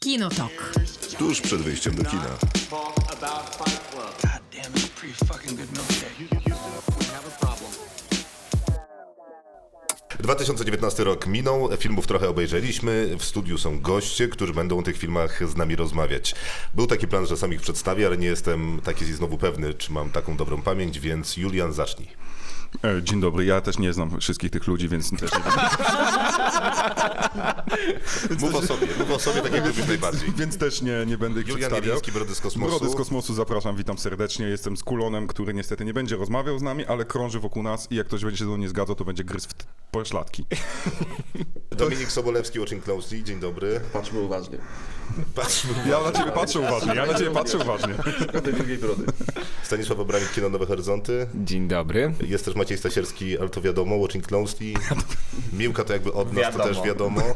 Kinotok. Tuż przed wyjściem do kina. ...2019 rok minął, filmów trochę obejrzeliśmy, w studiu są goście, którzy będą o tych filmach z nami rozmawiać. Był taki plan, że sam ich przedstawię, ale nie jestem taki znowu pewny, czy mam taką dobrą pamięć, więc Julian zacznij. E, Dzień dobry, ja też nie znam wszystkich tych ludzi, więc też nie wiem, Mów o sobie, mów o sobie tak jak lubisz najbardziej. więc też nie, nie będę ich Julian przedstawiał. Jeliński, Brody z Kosmosu. Brody z kosmosu, zapraszam, witam serdecznie. Jestem z Kulonem, który niestety nie będzie rozmawiał z nami, ale krąży wokół nas i jak ktoś będzie się do mnie zgadzał, to będzie gryzł w t- pośladki. Dominik Sobolewski, Watching Closely, dzień dobry. Patrzmy uważnie. Patrzmy. Ja na ciebie patrzę uważnie, ja na ciebie patrzę uważnie. Szkoda drugiej brody. Stanisław Obranik, Kino Nowe Horyzonty. Dzień dobry. Jest też Maciej Stasierski, ale to wiadomo, Watching Closely. Miłka to jakby od nas, to też wiadomo. E,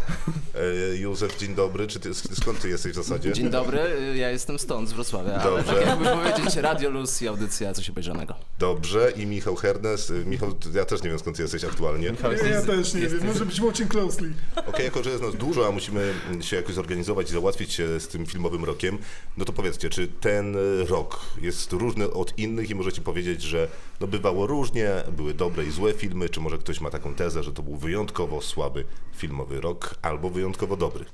Józef, dzień dobry. Czy ty, sk- skąd ty jesteś w zasadzie? Dzień dobry, y, ja jestem stąd, z Wrocławia, ale Dobrze. tak jakby powiedzieć Radio Luz i audycja Coś Obejrzanego. Dobrze. I Michał Hernes. E, Michał, ty- ja też nie wiem skąd ty jesteś aktualnie. Ja też nie wiem, może być watching closely. Okej, jako że jest nas dużo, a musimy mm, się jakoś zorganizować i załatwić się z tym filmowym rokiem, no to powiedzcie, czy ten e, rok jest różny od innych i możecie powiedzieć, że no bywało różnie, były dobre i złe filmy, czy może ktoś ma taką tezę, że to był wyjątkowo słaby filmowy rok albo wyjątkowo dobry?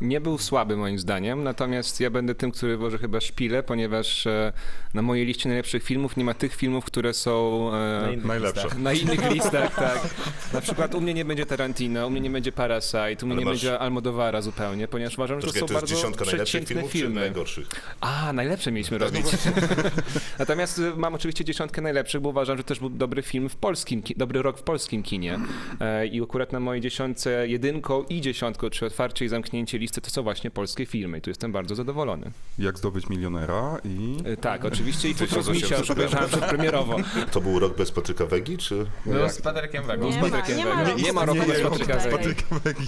Nie był słaby moim zdaniem, natomiast ja będę tym, który włoży chyba szpilę, ponieważ e, na mojej liście najlepszych filmów nie ma tych filmów, które są e, Najlepsze. na innych listach, tak. Na przykład u mnie nie będzie Tarantino, u mnie nie będzie Parasite, u mnie Ale nie masz- będzie Almodovara zupełnie, ponieważ uważam, że to Poczekaj, to są jest bardzo dziesiątka najlepszych przeciętne filmów, czy filmy. najgorszych? A, najlepsze No mieliśmy robić. Natomiast y, mam oczywiście dziesiątkę najlepszych, bo uważam, że też był dobry film w polskim, ki- dobry rok w polskim kinie. E, I akurat na mojej dziesiątce jedynką i dziesiątką, czy otwarcie i zamknięcie listy, to są właśnie polskie filmy. I tu jestem bardzo zadowolony. Jak zdobyć milionera i... E, Tak, oczywiście i Futros 2008 Misia już obejrzałem przedpremierowo. To był rok bez Patryka Wegi, czy? No, z Patrykiem Wego. Nie ma, nie ma, Nie ma roku bez Patryka Wegi.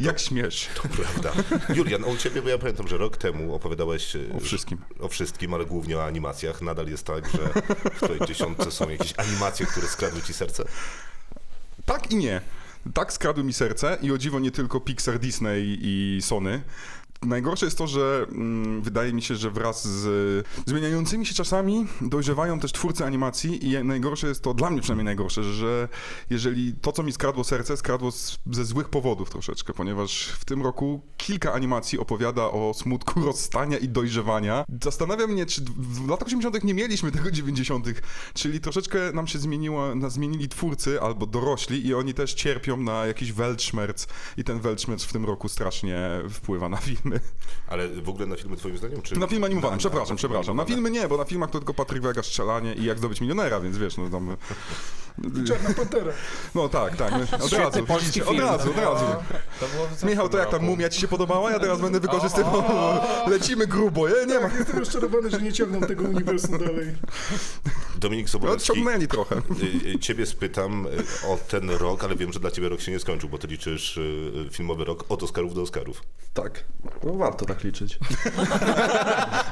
Jak śmiesz Prawda. Julian, u ciebie, bo ja pamiętam, że rok temu opowiadałeś o wszystkim. o wszystkim, ale głównie o animacjach. Nadal jest tak, że w twojej dziesiątce są jakieś animacje, które skradły ci serce. Tak i nie. Tak skradły mi serce i o dziwo nie tylko Pixar, Disney i Sony. Najgorsze jest to, że mm, wydaje mi się, że wraz z zmieniającymi się czasami dojrzewają też twórcy animacji i najgorsze jest to, dla mnie przynajmniej najgorsze, że jeżeli to, co mi skradło serce, skradło z, ze złych powodów troszeczkę, ponieważ w tym roku kilka animacji opowiada o smutku rozstania i dojrzewania. Zastanawia mnie, czy w w latach 80. nie mieliśmy tego 90., czyli troszeczkę nam się zmieniło, na, zmienili twórcy albo dorośli i oni też cierpią na jakiś weltschmerz i ten weltschmerz w tym roku strasznie wpływa na filmy. Ale w ogóle na filmy twoim zdaniem? Czy... Na filmy animowane, przepraszam, na- przepraszam. Na filmy nie, bo na filmach to tylko Patryk Wega, strzelanie i jak zdobyć milionera, więc wiesz, no tam... Czarna Pantera. No tak, tak, no, od razu, polski od film. razu, od razu. To było w Michał, to jak tam mumia ci się podobała? Ja teraz będę wykorzystywał, lecimy grubo, nie, nie ma. Tak, jestem rozczarowany, że nie ciągną tego uniwersum dalej. Dominik Sobolewski, No, Odciągnęli trochę. y, y, ciebie spytam y, o ten rok, ale wiem, że dla ciebie rok się nie skończył, bo ty liczysz y, filmowy rok od Oscarów do Oscarów. Tak. No warto tak liczyć.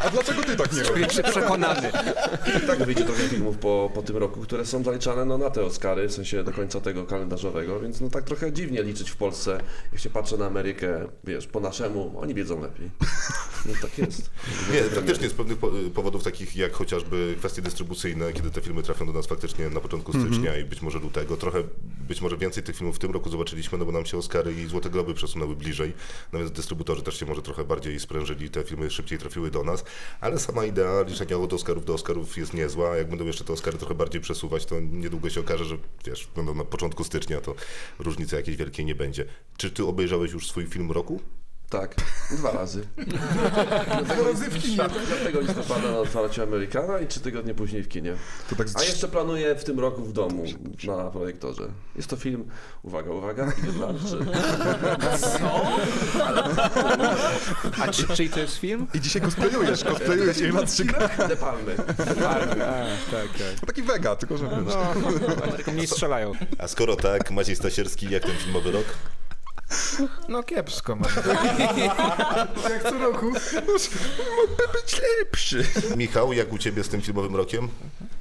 A dlaczego ty tak nie robisz? Czuję się przekonany. I tak wyjdzie trochę filmów po, po tym roku, które są zaliczane no, na te Oscary, w sensie do końca tego kalendarzowego, więc no tak trochę dziwnie liczyć w Polsce. Jak się patrzę na Amerykę, wiesz, po naszemu, oni wiedzą lepiej. No tak jest. Nie, faktycznie z pewnych po- powodów takich jak chociażby kwestie dystrybucyjne, kiedy te filmy trafią do nas faktycznie na początku stycznia i być może lutego. Trochę, być może więcej tych filmów w tym roku zobaczyliśmy, no bo nam się Oscary i Złote Globy przesunęły bliżej, no więc dystrybutorzy też się może trochę bardziej sprężyli, te filmy szybciej trafiły do nas, ale sama idea liczenia od Oscarów do Oscarów jest niezła. Jak będą jeszcze te Oscary trochę bardziej przesuwać, to niedługo się okaże, że wiesz, będą na początku stycznia, to różnicy jakiejś wielkiej nie będzie. Czy ty obejrzałeś już swój film roku? Tak, dwa razy. Dwa razy w kinie. 5 listopada na otwarciu Amerykana i trzy tygodnie później w kinie. To tak z... A jeszcze planuję w tym roku w domu na projektorze. Jest to film, uwaga, uwaga, znaczy, Irlandczy. A czy, czyj to jest film? I dzisiaj cosplayujesz, cosplayujesz Irlandczyka. De Palmy. A, tak, tak. Taki Vega, tylko że wiesz. no. Tylko mniej strzelają. A skoro tak, Maciej Stasierski, jak ten filmowy rok? No kiepsko, mam. Jak co roku. Michał, jak u ciebie z tym filmowym rokiem?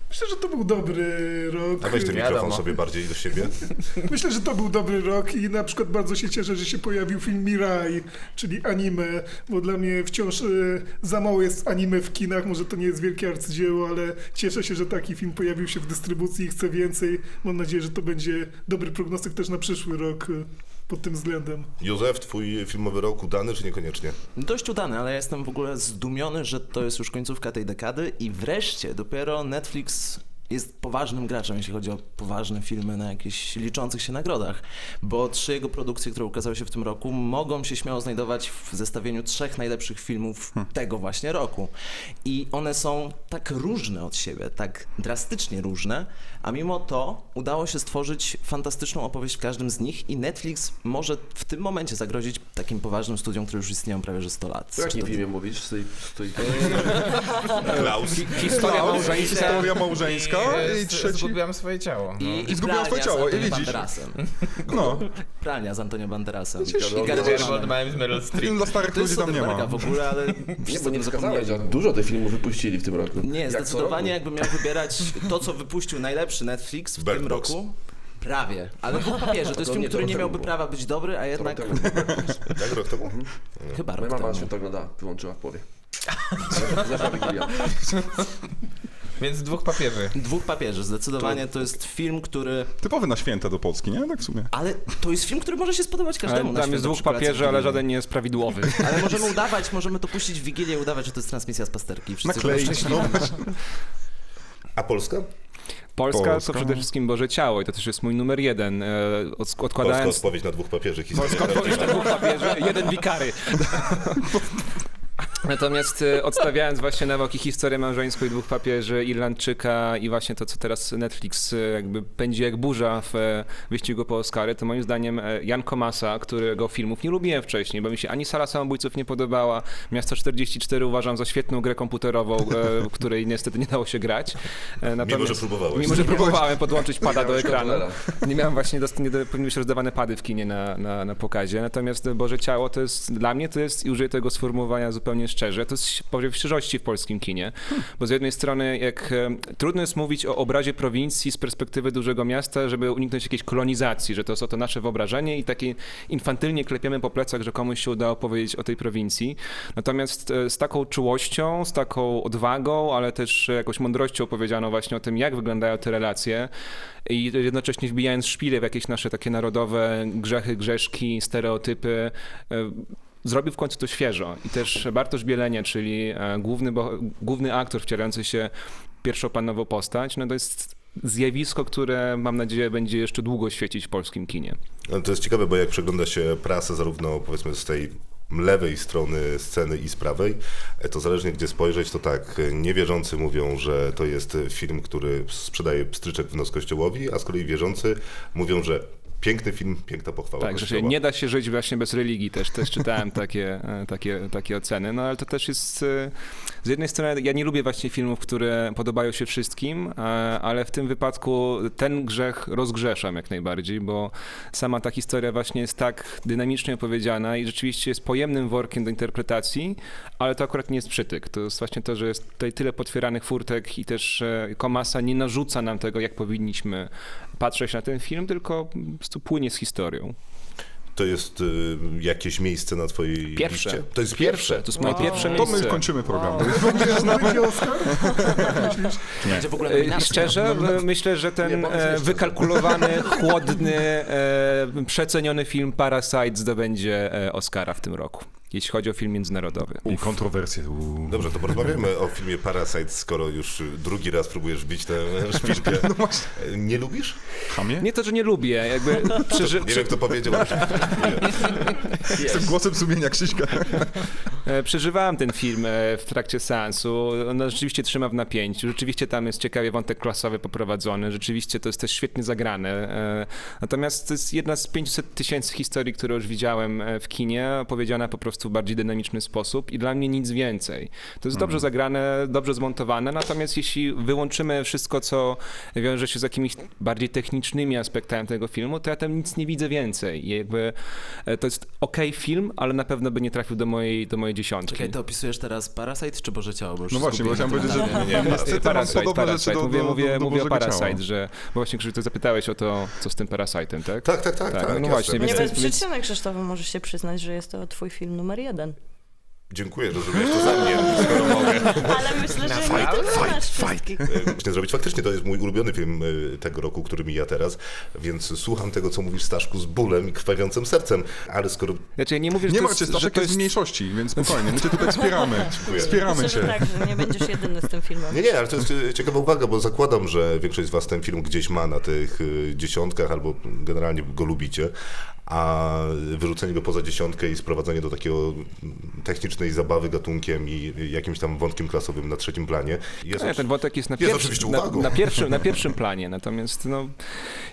Myślę, że to był dobry rok. A weź ten Wiadomo. mikrofon sobie bardziej do siebie. Myślę, że to był dobry rok i na przykład bardzo się cieszę, że się pojawił film Mirai, czyli anime, bo dla mnie wciąż e, za mało jest anime w kinach, może to nie jest wielkie arcydzieło, ale cieszę się, że taki film pojawił się w dystrybucji i chcę więcej. Mam nadzieję, że to będzie dobry prognostyk też na przyszły rok e, pod tym względem. Józef, twój filmowy rok udany czy niekoniecznie? Dość udany, ale ja jestem w ogóle zdumiony, że to jest już końcówka tej dekady i wreszcie dopiero Netflix jest poważnym graczem, jeśli chodzi o poważne filmy na jakichś liczących się nagrodach, bo trzy jego produkcje, które ukazały się w tym roku, mogą się śmiało znajdować w zestawieniu trzech najlepszych filmów tego właśnie roku. I one są tak różne od siebie, tak drastycznie różne, a mimo to udało się stworzyć fantastyczną opowieść w każdym z nich i Netflix może w tym momencie zagrozić takim poważnym studiom, które już istnieją prawie że 100 lat. O jakim filmie mówisz? Z tej, z tej... Klaus. Historia małżeńska. No. Historia małżeńska i Z- trzeci... Zgubiłem swoje ciało. No. I, I zgubiłem pralnia swoje ciało, z Antonio i widzisz. Banderasem. No, Pralnia z Antonio Banderasem. Przecież- I Wiesz, Gargoyle. Goldman z Meryl Streep. film dla starych To jest ludzi tam nie Soderberga ma. w ogóle, ale Nie, wszyscy bo o nie tym wskazałeś, a zapomnieli. dużo tych filmów wypuścili w tym roku. Nie, Jak co roku. zdecydowanie jakbym miał wybierać to, co wypuścił najlepszy Netflix w Bird tym Box. roku. Prawie, ale po papierze. To jest To film, nie, to który nie rok miałby temu prawa być dobry, a To jednak rok temu. Tak, rok temu? chyba Moja rok mama się temu. to oglądała, wyłączyła w połowie. Zeszła Wigilia. Więc dwóch papieży. Dwóch papieży, zdecydowanie to jest film, który... Typowy na święta do Polski, nie? Tak w sumie. Ale to jest film, który może się spodobać Ale każdemu. na tam święta jest dwóch przy pracy papieży, w ale Wigilię. żaden nie jest prawidłowy. Ale możemy udawać, możemy to puścić w Wigilię i udawać, że to jest transmisja z pasterki. i wszyscy będą Nakleić, no. A Polska? Polska, Polska. to przede wszystkim Boże Ciało i to też jest mój numer jeden. E, od- Polska Odkładając odpowiedź na dwóch papieży. Historia Odpowiedź na dwóch papieży, jeden wikary. Natomiast e, odstawiając właśnie na boki historię małżeńską i dwóch papieży, Irlandczyka i właśnie to, co teraz Netflix e, jakby pędzi jak burza w e, wyścigu po Oscary, to moim zdaniem e, Jan Komasa, którego filmów nie lubiłem wcześniej, bo mi się ani Sala Samobójców nie podobała, Miasto 44 uważam za świetną grę komputerową, e, w której niestety nie dało się grać. E, Mimo, natomiast- że próbowałeś. Mimo, że próbowałem podłączyć pada do Miałeś ekranu. kontrolera. Nie miałem właśnie, dost- nie do- powinny być rozdawane pady w kinie na, na, na pokazie. Natomiast e, Boże Ciało to jest, dla mnie to jest, i użyję tego sformułowania zupełnie szczerze, to jest powiew szczerości w polskim kinie. Bo z jednej strony, jak em, trudno jest mówić o obrazie prowincji z perspektywy dużego miasta, żeby uniknąć jakiejś kolonizacji, że to jest oto nasze wyobrażenie i takie infantylnie klepiemy po plecach, że komuś się udało powiedzieć o tej prowincji. Natomiast e, z taką czułością, z taką odwagą, ale też e, jakąś mądrością powiedziano właśnie o tym, jak wyglądają te relacje i jednocześnie wbijając szpile w jakieś nasze takie narodowe grzechy, grzeszki, stereotypy. e, Zrobił w końcu to świeżo. I też Bartosz Bielenie, czyli e, główny, bo, główny aktor wcielający się w pierwszopanową postać, no to jest zjawisko, które mam nadzieję będzie jeszcze długo świecić w polskim kinie. No To jest ciekawe, bo jak przegląda się prasę zarówno powiedzmy z tej lewej strony sceny i z prawej, to zależnie gdzie spojrzeć, to tak, niewierzący mówią, że to jest film, który sprzedaje pstryczek w nos kościołowi, a z kolei wierzący mówią, że piękny film, piękna pochwała Tak, że się Kościoła. nie da się żyć właśnie bez religii też, też czytałem takie, e, takie, takie oceny, no ale to też jest e, z jednej strony ja nie lubię właśnie filmów, które podobają się wszystkim, e, ale w tym wypadku ten grzech rozgrzeszam jak najbardziej, bo sama ta historia właśnie jest tak dynamicznie opowiedziana i rzeczywiście jest pojemnym workiem do interpretacji, ale to akurat nie jest przytyk. To jest właśnie to, że jest tutaj tyle potwieranych furtek i też e, Komasa nie narzuca nam tego, jak powinniśmy patrzeć na ten film, tylko po prostu płynie z historią. To jest y, jakieś miejsce na twojej Pierwsze. liście? To jest Pierwsze, to jest moje pierwsze To miejsce. my kończymy program. Będzie Oscar? Będzie w ogóle E, nominacja. Szczerze, e, myślę, że ten Nie, powiedz e, jeszcze. wykalkulowany, chłodny, e, przeceniony film Parasite zdobędzie e, Oscara w tym roku, jeśli chodzi o film międzynarodowy. I kontrowersje. Uuu. Dobrze, to porozmawiamy o filmie Parasite, skoro już drugi raz próbujesz wbić tę szpilkę. No Nie lubisz? Chamie? Nie to, że nie lubię, jakby przeży, Nie wiem, kto powiedział, ale Z tym głosem sumienia Krzyśka. E, Przeżywałem ten film e, w trakcie seansu. On rzeczywiście trzyma w napięciu. Rzeczywiście tam jest ciekawie wątek klasowy poprowadzony. Rzeczywiście to jest też świetnie zagrane. E, Natomiast to jest jedna z 500 tysięcy historii, które już widziałem e, w kinie, opowiedziana po prostu prostu bardziej dynamiczny sposób i dla mnie nic więcej. To jest dobrze zagrane, dobrze zmontowane, natomiast jeśli wyłączymy wszystko, co wiąże się z jakimiś bardziej technicznymi aspektami tego filmu, to ja tam nic nie widzę więcej. I jakby e, to jest okej film, ale na pewno by nie trafił do mojej, do mojej dziesiątki. Czekaj, to opisujesz teraz Parasite czy Boże Ciało? Bo już No się właśnie, bo skupiłem chciałem powiedzieć, na tym. że Nie, Niestety mam Parasite, podobne rzeczy Parasite. do, do, mówię, do, mówię, do mówię o Bożego Parasite, Ciała. że... Bo właśnie, Krzysztof, ty zapytałeś o to, co z tym Parasite'em, tak? Tak, tak, tak. Tak, tak, no jasne. właśnie, więc- Nie to bez jest- przyczyny, Krzysztofu, możesz się przyznać, że jest to twój film numer jeden. Dziękuję, że zrobiłeś to za mnie, skoro mogę. Ale myślę, że nie fight, tylko fight, nasz wszystkich. E, Muszę zrobić. Faktycznie to jest mój ulubiony film e, tego roku, który mija teraz, więc słucham tego, co mówisz, Staszku, z bólem i krwawiącym sercem, ale skoro... Znaczy, ja nie mówię, że Nie to martw się, jest, że Staszek to jest jest w mniejszości, więc spokojnie, my cię tutaj wspieramy. Dziękuję. Wspieramy Myślę, że cię. tak, że nie będziesz jedyny z tym filmem. Nie, nie, ale to jest e, ciekawa uwaga, bo zakładam, że większość z was ten film gdzieś ma na tych e, dziesiątkach, albo generalnie go lubicie, a wyrzucenie go poza dziesiątkę i sprowadzenie do takiego mm, technicznej zabawy gatunkiem i jakimś tam wątkiem klasowym na trzecim planie jest... Nie, ten wątek jest na, Jest oczywiście pierwszym, na, uwagą. na, pierwszym, na pierwszym planie, natomiast no,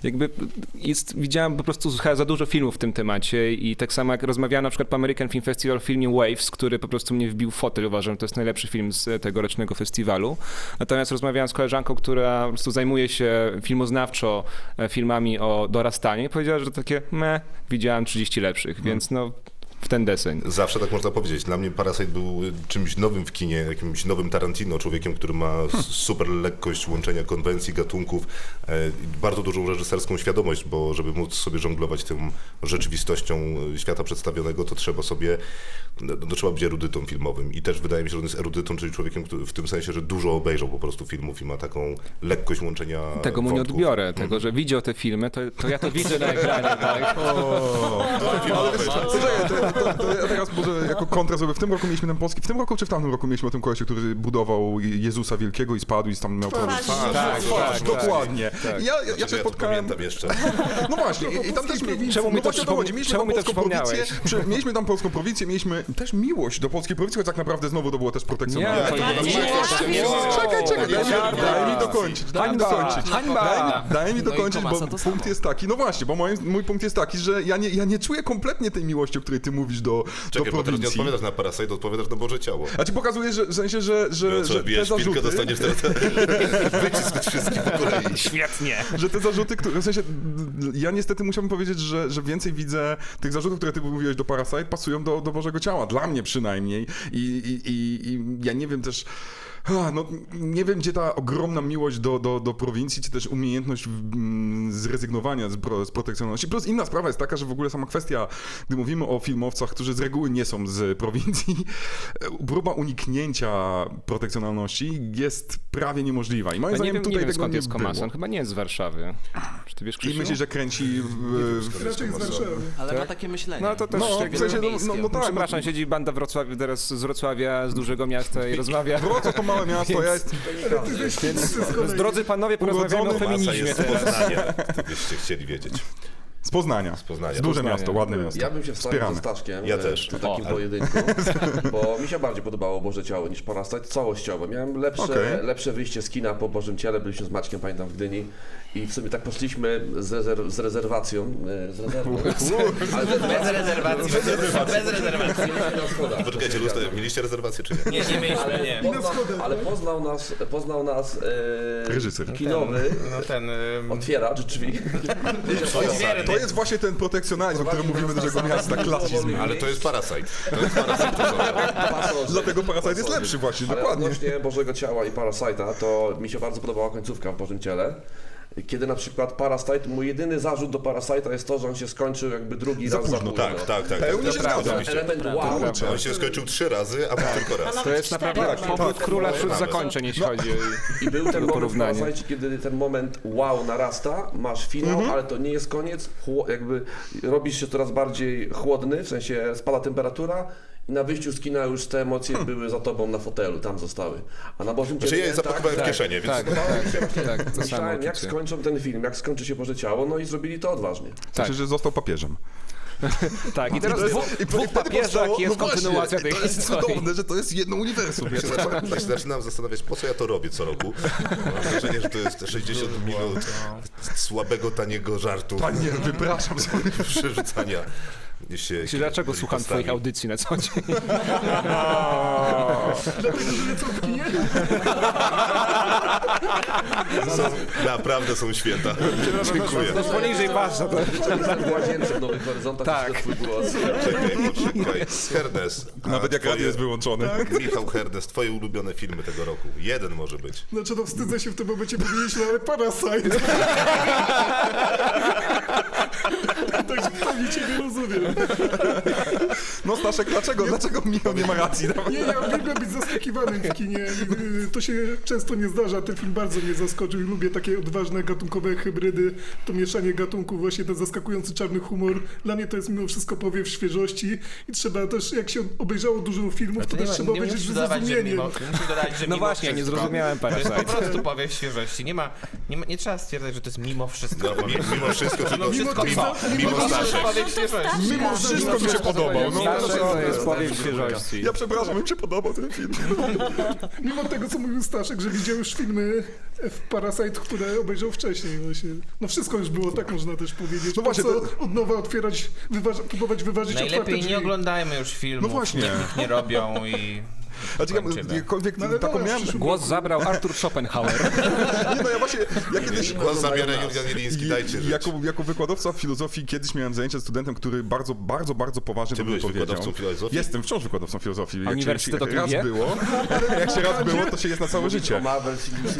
jakby jest, widziałem po prostu chyba za dużo filmów w tym temacie i tak samo jak rozmawiałem na przykład po American Film Festival o filmie Waves, który po prostu mnie wbił w fotel, uważam, że to jest najlepszy film z tegorocznego festiwalu. Natomiast rozmawiałem z koleżanką, która po prostu zajmuje się filmoznawczo e, filmami o dorastaniu i powiedziała, że takie meh, widziałem 30 lepszych, Mhm. więc no w ten deseń. Zawsze tak można powiedzieć. Dla mnie Parasite był y, czymś nowym w kinie, jakimś nowym Tarantino, człowiekiem, który ma s- super lekkość łączenia konwencji, gatunków, e, i bardzo dużą reżyserską świadomość, bo żeby móc sobie żonglować tą rzeczywistością y, świata przedstawionego, to trzeba sobie, no, no, trzeba być erudytą filmowym. I też wydaje mi się, że on jest erudytą, czyli człowiekiem który, w tym sensie, że dużo obejrzał po prostu filmów i ma taką lekkość łączenia Tego mu nie E, wątków. Mhm. odbiorę, tego, że widział te filmy, to, to ja to widzę na ekranie, tak? Słuchaj, to, to, to ja teraz może jako kontrast zrobię. W tym roku mieliśmy ten polski, w tym roku czy w tamtym roku mieliśmy o tym kolesie, który budował Jezusa Wielkiego i spadł i tam miał problem. Tak, Tak, tak, Dokładnie. tak. I Ja, ja, ja Znaczy, się ja to spotkałem... pamiętam jeszcze. No właśnie, i, i tam też mieliśmy... Czemu mi no to właśnie o chodzi. przypomni- Mieliśmy tam czemu mi to polską prowincję, przypomniałeś? przy- mieliśmy tam polską prowincję, mieliśmy też miłość do polskiej prowincji, choć tak naprawdę znowu to było też protekcjonalne. to nie, jest- nie, nie, nie, nie. Czekaj, czekaj, daj mi, daj mi dokończyć, daj mi dokończyć. Hańba! Daj mi, daj mi No i dokończyć, Tomasa bo to samo. punkt jest taki, no właśnie, bo moim, mój punkt jest taki, że ja nie, ja nie czuję kompletnie tej miłości, o której ty mówisz do, Czekaj, bo teraz do nie prowincji. odpowiadasz na Parasite, odpowiadasz na Boże Ciało. A ci pokazuje, że w sensie, że, że, No Co, że te bijesz zarzuty, pilkę, dostaniesz teraz wycisk wszystkich po kolei. Świetnie! że te zarzuty, które, w sensie, ja niestety musiałbym powiedzieć, że, że więcej widzę tych zarzutów, które ty mówiłeś do Parasite, pasują do, do Bożego Ciała, dla mnie przynajmniej i, i, i, i ja nie wiem też, ah, no nie wiem, gdzie ta ogromna miłość do, do, do prowincji, czy też umiejętność mm, zrezygnowania z, pro, z protekcjonalności. Plus inna sprawa jest taka, że w ogóle sama kwestia, gdy mówimy o filmowcach, którzy z reguły nie są z prowincji, próba uniknięcia protekcjonalności jest prawie niemożliwa i moim Ja nie zdaniem wiem, nie tutaj wiem tego skąd nie jest Komas, było. on chyba nie jest z Warszawy. Czy ty wiesz, I Krzysiu? myślisz, że kręci w, w, No Raczej z Warszawy. Ale ma takie myślenie. No to też... No, jakby- w sensie, no, no, no tak. Przepraszam, siedzi banda Wrocławia, teraz z Wrocławia, z dużego miasta i rozmawia. Wrocław to małe miasto, ja jest... Drodzy panowie, porozmawiamy o Urodzony Masa feminizmie jest z teraz. Poznania, gdybyście chcieli wiedzieć. Z Poznania. Poznania. Z duże Poznania. miasto, ładne miasto. Ja bym się wstawił Wspieramy. ze Staszkiem. Ja e, też. W takim O. pojedynku. Bo mi się bardziej podobało Boże Ciało niż Parasite całościowo. Miałem lepsze, Okej. lepsze wyjście z kina po Bożym Ciele. Byliśmy z Maćkiem, pamiętam, w Gdyni. I w sumie tak poszliśmy z, rezerw- z rezerwacją. e, Z rezerwą. Ale Bez rezerwacji. Bez rezerwacji. Poczekajcie, Lustę, mieliście rezerwację czy nie? Nie, nie mieliśmy, nie. Poznał, ale poznał nas, poznał nas e, Reżyser. Tak. kinowy No ten... ym, otwieracz drzwi. To jest właśnie ten protekcjonalizm, o którym mówimy dużego miasta, klasizm. Ale to jest Parasite. To jest Parasite. to są- Pasożyt. Dlatego Parasite jest lepszy właśnie, Ale dokładnie. odnośnie Bożego Ciała i Parasite'a, to mi się bardzo podobała końcówka w Bożym Ciele. Kiedy na przykład Parasite, mój jedyny zarzut do Parasite'a jest to, że on się skończył jakby drugi Za raz późno, za Tak, późno. tak, tak. Pełni tak, się tak, zgadzam. oczywiście. Element wow, On się skończył trzy razy, a my tylko raz. To jest naprawdę Tak, tak, powrót króla wśród Nawet. zakończeń, jeśli chodzi o I był ten tego moment porównanie. w Parasite, kiedy ten moment wow narasta, masz finał, Mhm. ale to nie jest koniec, chło, jakby robisz się coraz bardziej chłodny, w sensie spada temperatura i na wyjściu z kina już te emocje były za tobą na fotelu, tam zostały. A na Bożym Hmm. Znaczy ja je Ciele- tak, zapakowałem w kieszenie, więc... Tak, tak, tak, to samo Myślałem, jak uczucie. skończą ten film, jak skończy się Boże Ciało, no i zrobili to odważnie. Znaczy, że został papieżem. Tak, i teraz To jest- dwóch, i- i dwóch wtedy papieżach powstało- jest no właśnie, kontynuacja tej To jest historii. cudowne, że to jest jedno uniwersum. Ja się zaczynam- Ja się zaczynam zastanawiać, po co ja to robię co roku. Mam wrażenie, że to jest 60 minut słabego, taniego żartu, Panie, wypraszam sobie. przerzucania Jeśli, Czyli dlaczego byli słucham postami. twoich audycji na co dzień? Dlatego, że lecą w kinie. Są, naprawdę są święta. Dziękuję. To poniżej pasa. To... Czasem w łazience w Nowych Horyzontach tak. twój głos. Czekaj, poczekaj. Hernes. a Nawet jak radio twoje- jest wyłączone. Michał Hernes, twoje ulubione filmy tego roku. Jeden może być. Znaczy, no wstydzę się w tym momencie powiedzieć, no ale Parasite. Także pewnie Tak, ciebie rozumiem. No Staszek, dlaczego? Dlaczego Michał nie ma racji? Nie, ja lubię być zaskakiwanym w kinie. Yy, To się często nie zdarza. Ten film bardzo mnie zaskoczył i lubię takie odważne gatunkowe hybrydy. To mieszanie gatunków, właśnie ten zaskakujący czarny humor. Dla mnie to jest mimo wszystko powiew świeżości i trzeba też, jak się obejrzało dużo filmów, to, też trzeba nie obejrzeć musisz ze dodawać, że zrozumieniem. mimo, nie musisz dodawać, że No mimo właśnie, ja nie wszystko. zrozumiałem To jest po Parasite. prostu powiew świeżości. Nie ma, nie ma, nie trzeba stwierdzać, że to jest mimo wszystko. No, mi- mimo wszystko, tylko Mimo mimo, mimo, wszystko, mimo Staszek. powiew świeżości. Mimo wszystko mi się podobał. No, Zawsze to jest powiew Zawsze świeżości. ja przepraszam, mi się podobał ten film. Mimo tego, co mówił Staszek, że widział już filmy w Parasite, które obejrzał wcześniej. Właśnie. No wszystko już było, tak można też powiedzieć. No właśnie, Po co od nowa otwierać, wyważ, próbować wyważyć otwarte Najlepiej Znaczy, drzwi. nie oglądajmy już filmów. No właśnie. niech ich nie robią i... A ciekawe, Kończymy. jakkolwiek ale taką dobra, miałem... w przyszłym- Głos zabrał Artur Schopenhauer. Nie, no ja właśnie, ja kiedyś... Głos zabiera Julian Jeliński, dajcie żyć. jako, jako wykładowca filozofii kiedyś miałem zajęcie z studentem, który bardzo, bardzo, bardzo poważnie Ty do mnie byłeś powiedział. wykładowcą filozofii? Jestem wciąż wykładowcą filozofii. Jak się- Uniwersytet o jak tym raz wie? było, jak się raz było, to się jest na całe życie. Marvel,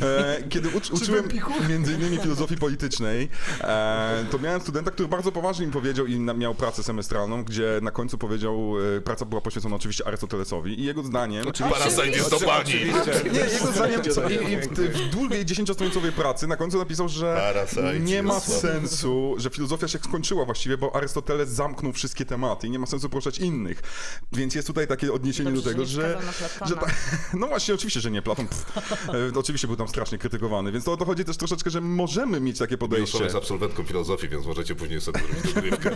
E, kiedy ucz, uczyłem między innymi filozofii politycznej, e, to miałem studenta, który bardzo poważnie mi powiedział i na, miał pracę semestralną, gdzie na końcu powiedział, e, praca była poświęcona oczywiście Arystotelesowi i jego zdaniem... Parasite jest do pani. Nie, jego zdaniem co, i, i w, w długiej dziesięciostronicowej pracy na końcu napisał, że Parasite nie ma jest słaby. sensu, że filozofia się skończyła właściwie, bo Arystoteles zamknął wszystkie tematy i nie ma sensu poruszać innych. Więc jest tutaj takie odniesienie Dobrze, do tego, że nie że... wskazał na Platona. że no właśnie, oczywiście, że nie, Platon pff, e, oczywiście był tam strasznie krytykowany, więc to o to chodzi też troszeczkę, że możemy mieć takie Miłoszona podejście, jest absolwentką filozofii, więc możecie później sobie zrobić dogrywkę.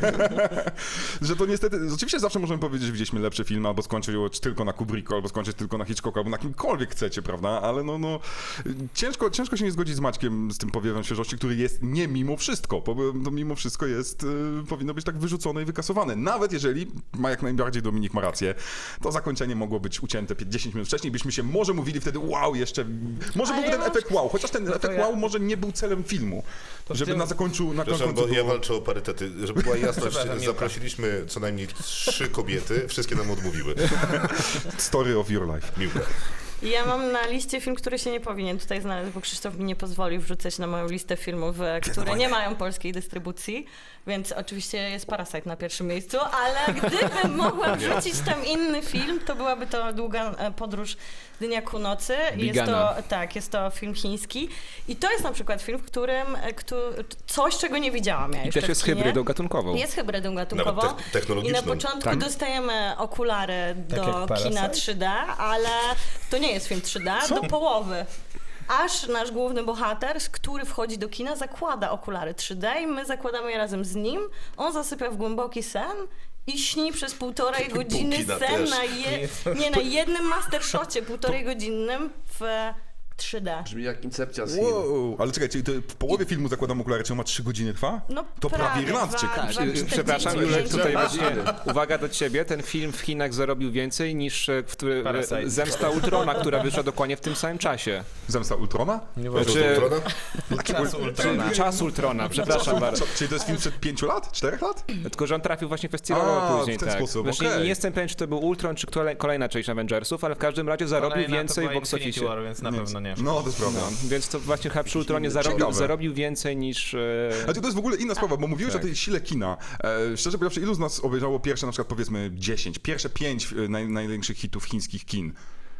że to niestety, oczywiście zawsze możemy powiedzieć, że widzieliśmy lepszy film, albo skończył tylko na Kubricku, albo skończyć tylko na Hitchcocku, albo na kimkolwiek chcecie, prawda, ale no, no, e, ciężko, ciężko się nie zgodzić z Maćkiem, z tym powiewem świeżości, który jest nie mimo wszystko, bo e, to mimo wszystko jest, e, powinno być tak wyrzucone i wykasowane, nawet jeżeli, ma jak najbardziej Dominik ma rację, to zakończenie mogło być ucięte 10 minut wcześniej, byśmy się może mówili wtedy wow jeszcze, może Ale byłby ja ten mam- No efekt wow, chociaż ten efekt ja- wow może nie był celem filmu, żeby tym- na zakońcu, na końcu Przepraszam, bo ja było- walczę o parytety. Żeby była jasność, Przepraszam, nie zaprosiliśmy co najmniej trzy kobiety, wszystkie nam odmówiły. Story of your life. Miłka. Ja mam na liście film, który się nie powinien tutaj znaleźć, bo Krzysztof mi nie pozwolił wrzucać na moją listę filmów, e, które nie mają polskiej dystrybucji, więc oczywiście jest Parasite na pierwszym miejscu, ale gdybym mogła wrzucić tam inny film, to byłaby to długa e, podróż dnia ku nocy. Jest to, Bigana. tak, jest to film chiński i to jest na przykład film, w którym e, któ- coś, czego nie widziałam ja I jeszcze też w jest kinie. hybrydą gatunkową. Jest hybrydą Nawet gatunkową. te- I na technologiczną. początku dostajemy okulary jak do Parasite? kina 3D, ale to nie jest film 3D, do połowy. Aż nasz główny bohater, który wchodzi do kina, zakłada okulary 3D i my zakładamy je razem z nim. On zasypia w głęboki sen i śni przez półtorej godziny kina sen też. na, je, nie, na jednym mastershocie półtorej godzinnym w 3D. Brzmi jak incepcja z Chin. Wow. Ale czekaj, czyli to w połowie filmu zakładam okulary, czy on ma 3 godziny trwa? No, to prawie prawie Irlandczyk. dwa- dwa- Y, Przepraszam, 45 Julek, tutaj minut. właśnie uwaga do ciebie. Ten film w Chinach zarobił więcej niż e, który, Parasite. Zemsta Ultrona, która wyszła dokładnie w tym samym czasie. Zemsta Ultrona? Nie Czy... Czy- Ultrona? Czas Tak. Ultrona. Czas Ultrona, przepraszam bardzo. Co, czyli to jest film sprzed 5 lat? 4 lat? Tylko, że on trafił właśnie festiwalowo A, później. w ten tak. sposób, Właśnie okej. Nie jestem pewien, czy to był Ultron, czy kole- kolejna część Avengersów, ale w każdym razie zarobił Kolejna to więcej w była box Infinity office. War, więc na pewno nie. No, to jest prawda. Więc to właśnie chyba przy Ultronie zarobił, Ciekawe. zarobił więcej niż... e, Ale Znaczy, to jest w ogóle inna sprawa, bo mówiłeś o tej sile kina. E, szczerze mówiąc, ilu z nas obejrzało pierwsze, na przykład powiedzmy 10, pierwsze 5 naj, największych hitów chińskich kin?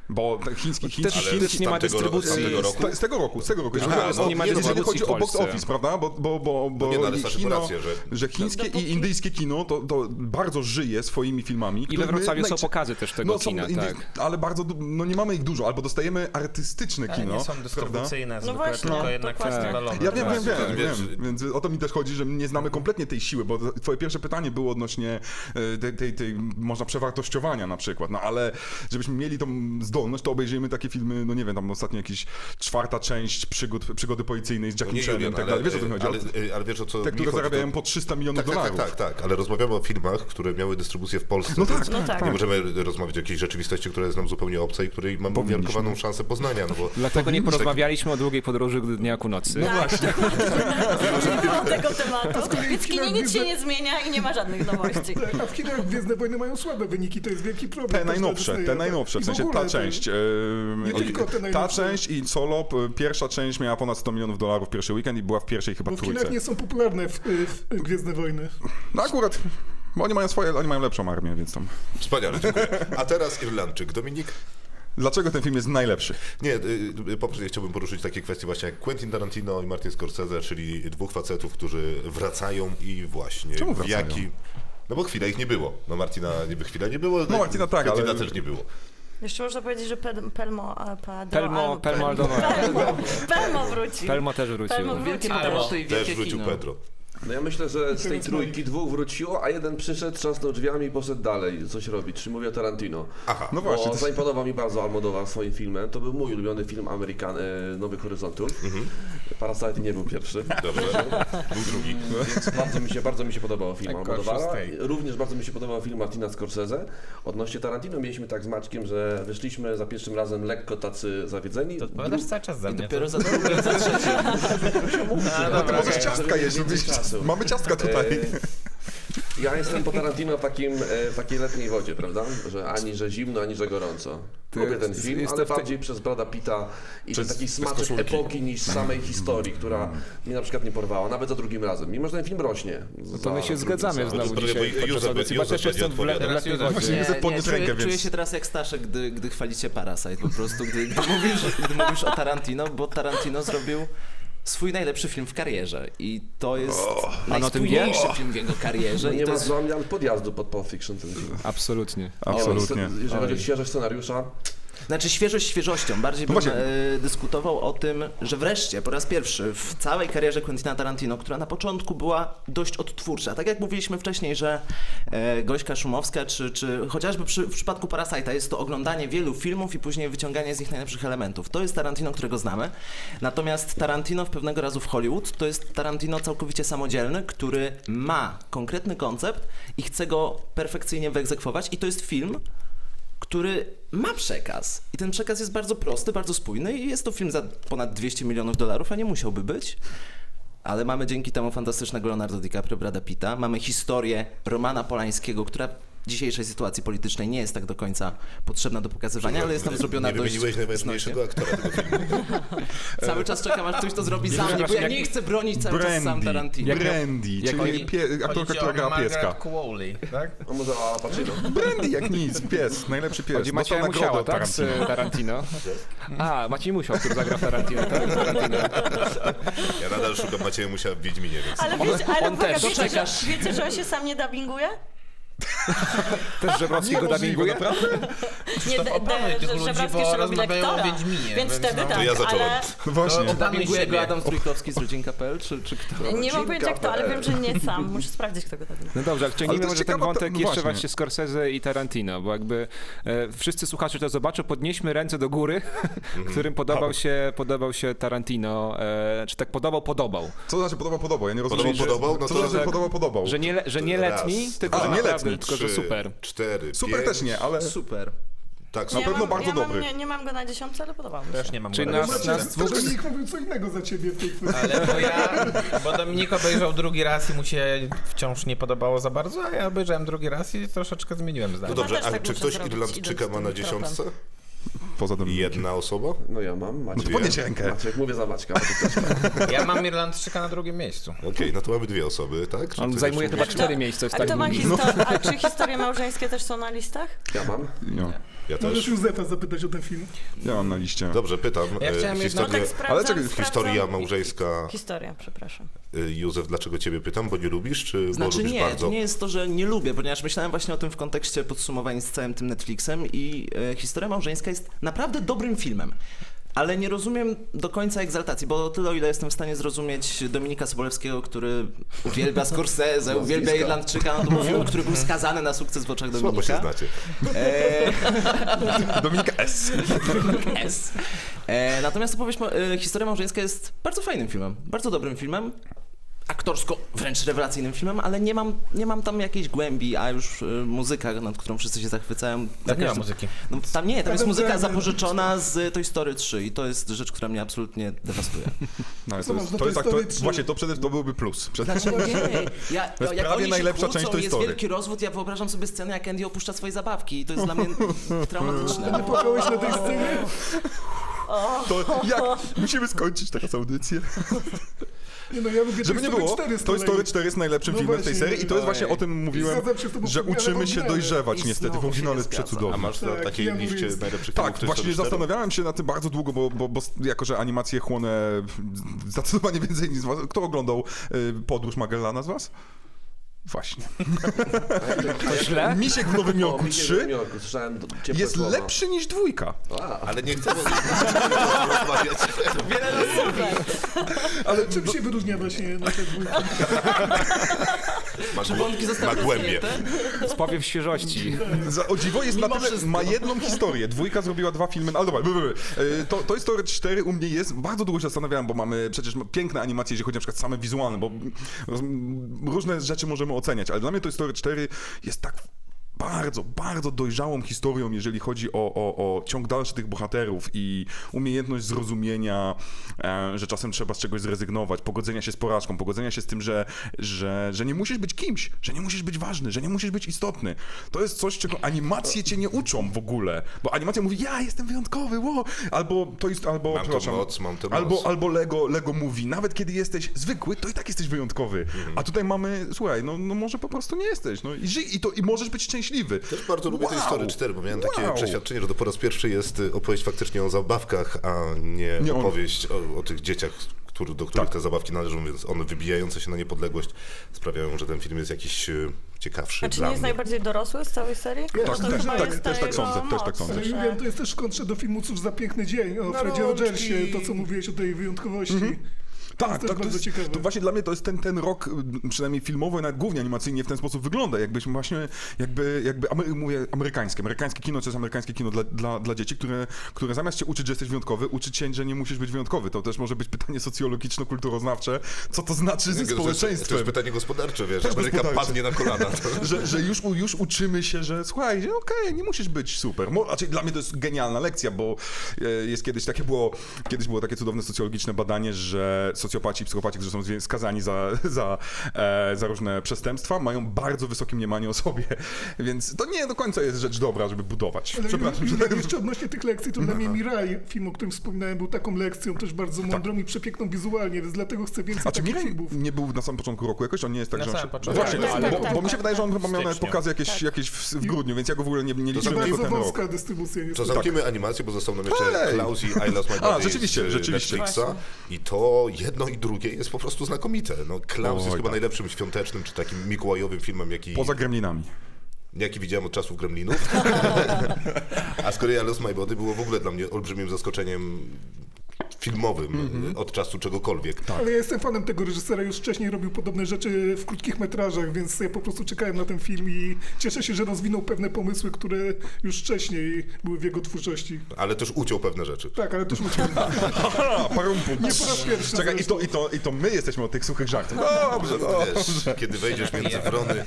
Bo te chińskich chin... Też Chin nie ma z tamtego ro- z dystrybucji. tamtego roku? Z, te- z tego roku, z tego roku. Aha, Jeżeli chodzi no, o- nie ma jeżeli dystrybucji chodzi o w box Polsce. office, prawda? Bo, bo, bo, bo nie, no, ale Staszek ma kino, rację, że- że chińskie No, i Dopóki- indyjskie kino to, to bardzo żyje swoimi filmami. I we które my Wrocławiu są najczę- pokazy też tego no, są kina, indy- tak. Ale bardzo, du- no nie mamy ich dużo, albo dostajemy artystyczne Ale kino. nie są No, prawda? dystrybucyjne No zwykle, właśnie, tylko jednak dokładnie. festiwalowe. Ja wiem, wiem, właśnie, wiem, tak, wiem. wiesz- Więc o to mi też chodzi, że nie znamy kompletnie tej siły, bo to- twoje pierwsze pytanie było odnośnie e, tej, tej, tej można przewartościowania na przykład, no ale żebyśmy mieli tą zdolność, to obejrzyjmy takie filmy, no nie wiem, tam ostatnio jakiś czwarta część przygód, przygody policyjnej z Jackiem Chanem i tak dalej. Wiesz o co mi chodzi? Ale, e, ale, ale wiesz o co Te, mi chodzi, które to- zarabiają po 300 milionów tak, tak, dolarów. tak, tak, ale rozmawiamy o filmach, które miały dystrybucję w Polsce. No więc tak, No tak. Nie możemy rozmawiać o jakiejś rzeczywistości, która jest nam zupełnie obca i której mamy Powinniśmy. umiarkowaną szansę poznania. No bo Dlatego nie porozmawialiśmy o długiej podróży do dnia ku nocy. właśnie. Nie było tego tematu. Więc w kinie nic się nie zmienia i nie ma żadnych nowości. Tak, a w Chinach Gwiezdne Wojny mają słabe wyniki, to jest wielki problem. Te Też najnowsze, Disneya, te tak. najnowsze, I w sensie ogóle ta to- część. Nie em, tylko te Ta najnowsze. część i solo, p- pierwsza część miała ponad 100 milionów dolarów pierwszy weekend i była w pierwszej chyba Bo w trójce. Chinach nie są popularne w, w Gwiezdne Wojny. No akurat, bo oni mają swoje, oni mają lepszą armię, więc tam. Wspaniale, dziękuję. A teraz Irlandczyk. Dominik? Dlaczego ten film jest najlepszy? Nie, y, y, po prostu chciałbym poruszyć takie kwestie właśnie jak Quentin Tarantino i Martin Scorsese, czyli dwóch facetów, którzy wracają i właśnie Czemu w wracają? jaki... No bo chwilę ich nie było. No Martina niby chwilę nie było. No Martina tak, Quentina ale- też nie było. Jeszcze można powiedzieć, że Pel- Pelmo a, Padro... Pelmo, a- Pelmo Aldomar. Pelmo, Pelmo wróci. Pelmo też wrócił. Pelmo wróci. Wielkie po prostu. powroty i Też wielkie wrócił kino. Pedro. No ja myślę, że z tej Teraz trójki dwóch wróciło, a jeden przyszedł, trzasnął drzwiami i poszedł dalej coś robić, czy mówię o Tarantino. Aha. No Bo właśnie, to jest- zaimponował mi bardzo Almodovar swoim filmem. To był mój ulubiony film Amerykan e, Nowych Horyzontów. Mhm. Parasite nie był pierwszy. Dobrze. Był drugi. Więc bardzo mi się, bardzo mi się podobał film Najgorszy Almodovara. z tej. Również bardzo mi się podobał film Martina Scorsese. Odnośnie Tarantino mieliśmy tak z Maćkiem, że wyszliśmy za pierwszym razem lekko tacy zawiedzeni. Odpowiadasz No cały czas za I mnie. dopiero za drugim, za trzecim. A, To dobra, możesz ciastka jeść, robić- mamy ciastka tutaj. E, Ja jestem po Tarantino w, takim, e, w takiej letniej wodzie, prawda? Że ani że zimno, ani że gorąco. Ty Lubię ten jest- film, jest ale to w tej- bardziej przez Brada Pita i Przez- przez taki przez smaczek koszulki. epoki niż samej historii, która mnie na przykład nie porwała, nawet za drugim razem. Mimo, że ten film rośnie. No to my się zgadzamy No znowu to dzisiaj Józef podczas będzie- audycji, bo Józef też będzie jestem w le- odpowiadał. letniej Teraz wodzie. Nie chcę podnieść czuję, rękę, czuję więc- się teraz jak Staszek, gdy, gdy chwalicie Parasite po prostu, gdy, gdy, mówisz, gdy mówisz o Tarantino, bo Tarantino zrobił swój najlepszy film w karierze i to jest pan o tym wie? najspójniejszy film w jego karierze Że i nie to ma jest zamian podjazdu pod Pulp Fiction ten film. Absolutnie. Absolutnie. Oj, Jeżeli chodzi o świeżość scenariusza, Znaczy świeżość świeżością. No Bardziej bym właśnie. e, dyskutował o tym, że wreszcie, po raz pierwszy w całej karierze Quentina Tarantino, która na początku była dość odtwórcza. Tak jak mówiliśmy wcześniej, że e, Gośka Szumowska, czy, czy chociażby przy, w przypadku Parasite'a jest to oglądanie wielu filmów i później wyciąganie z nich najlepszych elementów. To jest Tarantino, którego znamy. Natomiast Tarantino w pewnego razu w Hollywood to jest Tarantino całkowicie samodzielny, który ma konkretny koncept i chce go perfekcyjnie wyegzekwować i to jest film, który ma przekaz. I ten przekaz jest bardzo prosty, bardzo spójny i jest to film za ponad 200 milionów dolarów, a nie musiałby być. Ale mamy dzięki temu fantastycznego Leonardo DiCaprio, Brada Pitta, mamy historię Romana Polańskiego, która w dzisiejszej sytuacji politycznej nie jest tak do końca potrzebna do pokazywania, ale jest tam zrobiona nie dość wymieniłeś najważniejszego aktora tego filmu. Cały czas czekam, aż ktoś to zrobi sam, bo przepraszam, ja jak- nie chcę bronić cały czas sam Brandy, Tarantino. Brandy, jak czyli oni- pie- aktorka, która grała pieska. Crowley, tak? a no. może o Al Pacino. Brandy jak nic, pies, najlepszy pies. No Chodzi Dostał Macieja nagrodę Musiała, od tak? Tarantino. No Z Tarantino. A, Maciej Musiał, który zagrał w Tarantino, tak? Z Tarantino. Ja nadal szukam Macieja Musia w Wiedźminie, więc... Ale wiecie, ale on uwaga, też. wiecie, że, Doczekasz. wiecie, że on się sam nie dubbinguje? Też Żebrowski go Niemożliwe, dubbinguje? naprawdę? Nie, To opanuj tych ludzi, Żebrowski bo jeszcze robi rozmawiają o lektora, Wiedźminie, więc więc wtedy no. tak, To ja zacząłem. ale No właśnie. Opanuj Dubbinguje go siebie. Adam Strójkowski z Rodzinka.pl, czy, czy kto? nie mam pojęcia kto, tak. ale wiem, że nie sam. Muszę sprawdzić, kto go dubbinguje. No dobrze, ale Ale to ciągnijmy jest może ten ciekawa- wątek no jeszcze właśnie. właśnie Scorsese i Tarantino, bo jakby e, wszyscy słuchacze to zobaczą, podnieśmy ręce do góry, Mhm. którym podobał się, podobał się Tarantino, e, czy tak podobał, podobał. Co znaczy podobał, podobał? Ja nie rozumiem. Podobał, że- podobał? No Co to znaczy tak. podobał, podobał? Że nie, le, że nie Raz, letni, tylko A, że nie naprawdę, letni, tylko że Trzy, super. Cztery, Super pięć. też nie, ale... Super. Tak, Nie no, super. pewno mam, bardzo ja dobry. Mam, nie, nie mam go na dziesiątce, ale podobał mi się. Też nie mam Czyli go. nas, nas To, dwóch... że nikt mówił co innego za ciebie w tej kwestii. Ale to ja, bo Dominik obejrzał drugi raz i mu się wciąż nie podobało za bardzo, a ja obejrzałem drugi raz i troszeczkę zmieniłem No zdanie. dobrze, też a tak czy muszę ktoś zrobić, Irlandczyka idąc ma na tym tropem. dziesiątce? Mhm. Poza tym... Jedna osoba? No ja mam, Maciek. No to podnieś rękę. Maciek, mówię za Maćka. Maciek też ma. Ja mam Irlandczyka na drugim miejscu. Okej, no to mamy dwie osoby, tak? Czy On ktoś zajmuje jeszcze chyba mówi? cztery miejsca. A tak kto ma mówi. historię? A czy historie małżeńskie też są na listach? Ja mam. No, Ja Możesz też. Józefa zapytać o ten film. ja mam na liście. Dobrze, pytam. Ja e, chciałem jedno- No historię, tak sprawdzam, czekaj, sprawdzam. historia małżeńska. Historia, przepraszam. e, Józef, dlaczego ciebie pytam? Bo nie lubisz, czy bo Znaczy lubisz nie, bardzo? to nie jest to, że nie lubię, ponieważ myślałem właśnie o tym w kontekście podsumowań z całym tym Netflixem i e, Historia Małżeńska jest naprawdę dobrym filmem. ale nie rozumiem do końca egzaltacji, bo o tyle, o ile jestem w stanie zrozumieć Dominika Sobolewskiego, który uwielbia Scorsese, uwielbia Irlandczyka, no to był film, który był skazany na sukces w oczach Słabo się Dominika. znacie. E, Dominika S. S. E, natomiast opowieść, ma- e, Historia Małżeńska jest bardzo fajnym filmem, bardzo dobrym filmem, aktorsko wręcz rewelacyjnym filmem, ale nie mam, nie mam tam jakiejś głębi, a już e, muzyka, nad którą wszyscy się zachwycają. za Tak nie ma każdym- muzyki. No, tam nie, tam jest Adam muzyka Driver. zapożyczona z e, Toy Story 3 i to jest rzecz, która mnie absolutnie dewastuje. No, ale to Co jest, masz do to Toy jest, tak, to, Story trzy? właśnie to przede to byłby plus. Przed... Dlaczego nie? Ja, To jest jak prawie oni najlepsza się kłócą, część Toy jest Story. wielki rozwód, ja wyobrażam sobie scenę, jak Andy opuszcza swoje zabawki i to jest dla mnie traumatyczne. Płakałeś na tej scenie? To jak musimy skończyć teraz audycję? Nie no, ja lubię Żeby nie Toy Story było, 4 z Toy Story kolei. 4 jest najlepszym No filmem w tej właśnie. serii i to jest właśnie o tym mówiłem, Zgadzam się, to że był wspaniale uczymy się oryginalny. dojrzewać I niestety, bo znowu się finał nie jest zgadza. A przecudowny. masz na Tak, takiej Keanu liście Reeves. najlepszych Tak, filmów właśnie Toy Story 4? zastanawiałem się na tym bardzo długo, bo, bo, bo jako, że animacje chłonę zdecydowanie więcej niż was. Kto oglądał y, Podróż Magellana z was? Właśnie. To Tak? źle? Misiek w Nowym O, Jorku Mickey w 3 Nowym Jorku, słyszałem do- ciepłe jest słowa. lepszy niż dwójka. A, Ale nie chcę rozmawiać. Znaczy, Ale no- czym się wyróżnia właśnie na te dwójki? Ma Czy głę- wątki zostały Ma głębie. rozwinięte? Spowiew świeżości. Za, o dziwo jest Mimo na tyle, wszystko. ma jedną historię. Dwójka zrobiła dwa filmy, ale dobra, by, by, by. To, Toy Story 4 u mnie jest, bardzo długo się zastanawiałem, bo mamy przecież piękne animacje, jeżeli chodzi na przykład same wizualne, bo roz, różne rzeczy możemy oceniać, ale dla mnie Toy Story 4 jest tak bardzo, bardzo dojrzałą historią, jeżeli chodzi o, o, o ciąg dalszy tych bohaterów i umiejętność zrozumienia, e, że czasem trzeba z czegoś zrezygnować, pogodzenia się z porażką, pogodzenia się z tym, że, że, że nie musisz być kimś, że nie musisz być ważny, że nie musisz być istotny. To jest coś, czego animacje cię nie uczą w ogóle, bo animacja mówi, ja jestem wyjątkowy, wow! albo to jest, albo, Mam tą przepraszam, moc, mam tę albo, moc. albo Lego, Lego mówi, nawet kiedy jesteś zwykły, to i tak jesteś wyjątkowy. Mhm. A tutaj mamy, słuchaj, no, no może po prostu nie jesteś, no i żyj, i, to, i możesz być szczęśliwy. Też bardzo lubię Toy Wow! Story 4, bo miałem takie Wow! przeświadczenie, że to po raz pierwszy jest y, opowieść faktycznie o zabawkach, a nie, Nie o- opowieść o, o tych dzieciach, który, do których Tak. te zabawki należą, więc one wybijające się na niepodległość sprawiają, że ten film jest jakiś y, ciekawszy A czy dla nie jest mnie. najbardziej dorosły z całej serii? Tak, To też, chyba tak, jest też ta tak sądzę, jego też tak moc, sądzę. Ale że- Julian, No to jest też w kontrze do filmuców za piękny dzień, o Fredzie rączki. Rogersie, to co mówiłeś o tej wyjątkowości. Tak, też tak, to, bardzo jest, ciekawe. to właśnie dla mnie to jest ten, ten rok, y, przynajmniej filmowy, nawet głównie animacyjnie w ten sposób wygląda. Jakbyśmy właśnie, jakby, jakby amery, mówię amerykańskie. Amerykańskie kino to jest amerykańskie kino dla, dla, dla dzieci, które, które zamiast cię uczyć, że jesteś wyjątkowy, uczy cię, że nie musisz być wyjątkowy. To też może być pytanie socjologiczno-kulturoznawcze, co to znaczy ze To społeczeństwem. jest pytanie gospodarcze, wiesz, Też Ameryka gospodarcze. padnie na kolana. To... Że, że już, u- już uczymy się, że słuchaj, że okej, nie musisz być super. Mo, znaczy, dla mnie to jest genialna lekcja, bo e, jest kiedyś takie było, kiedyś było takie cudowne socjologiczne badanie, że socjopaci i psychopaci, którzy są zwie- skazani za, za, e, za różne przestępstwa, mają bardzo wysokie mniemanie o sobie. Więc to nie do końca jest rzecz dobra, żeby budować. Ale Przepraszam, że... Julian, jeszcze odnośnie tych lekcji, to dla mnie Mirai, film, o którym wspominałem, był taką lekcją, też bardzo mądrą i przepiękną wizualnie, więc dlatego chcę więcej Tak. A czy takich Mirek filmów. nie był na samym początku roku jakoś? On nie jest tak, Na że on się... samym początku. Właśnie, Tak, ale- tak, bo, tak, bo mi się tak. wydaje, że on chyba miał nawet Stycznia. pokazy jakieś, jakieś w, w grudniu, więc ja go w ogóle nie, nie To liczyłem tylko bardzo ten rok. wąska dystrybucja. To niestety. zamkniemy animację, bo został nam jeszcze tak. Ej! Klaus i I Lost My Body rzeczywiście, z, y, rzeczywiście. Netflixa. I to jedno i drugie jest po prostu znakomite. No, Klaus Oj, jest chyba tak. najlepszym świątecznym czy takim mikołajowym filmem, jaki, Poza gremlinami. jaki widziałem od czasów Gremlinów. A z kolei I Lost My Body było w ogóle dla mnie olbrzymim zaskoczeniem filmowym Mhm. y, od czasu czegokolwiek. Tak. Ale ja jestem fanem tego reżysera, już wcześniej robił podobne rzeczy w krótkich metrażach, więc ja po prostu czekałem na ten film i cieszę się, że rozwinął pewne pomysły, które już wcześniej były w jego twórczości. Ale też uciął pewne rzeczy. Tak, ale też musiałem. Aha, parumpu. Nie po raz pierwszy Czekaj, i zresztą. to, i, to, i to my jesteśmy od tych suchych żartów. No, Dobrze, No, dobrze. Wiesz, kiedy wejdziesz między wrony,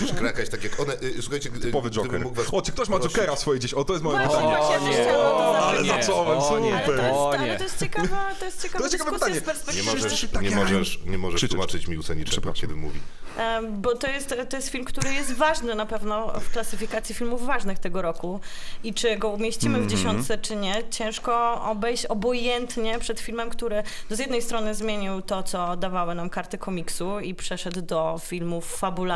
musisz krakać tak jak one. Y, Słuchajcie, gdy- Typowy gdybym Joker. mógł was O, czy ktoś ma prosić- Jokera swoje gdzieś? O, to jest moje Właśnie, pytanie. właśnie, ja też chciałam to zacząć. Ale zacząłem, o nie, Ale to super. O jest, ale nie. to jest ciekawa, to jest ciekawa To jest ciekawe dyskusja pytanie. z Nie perspektywy... możesz, Tak, nie ja- możesz, nie możesz Krzyczeć. tłumaczyć mi niczego, Przepraszam. kiedy mówi. E, Bo to jest, to jest film, który jest ważny na pewno w klasyfikacji filmów ważnych tego roku. I czy go umieścimy w dziesiątce, czy nie, ciężko obejść obojętnie przed filmem, który no, z jednej strony zmienił to, co dawały nam karty komiksu i przeszedł do filmów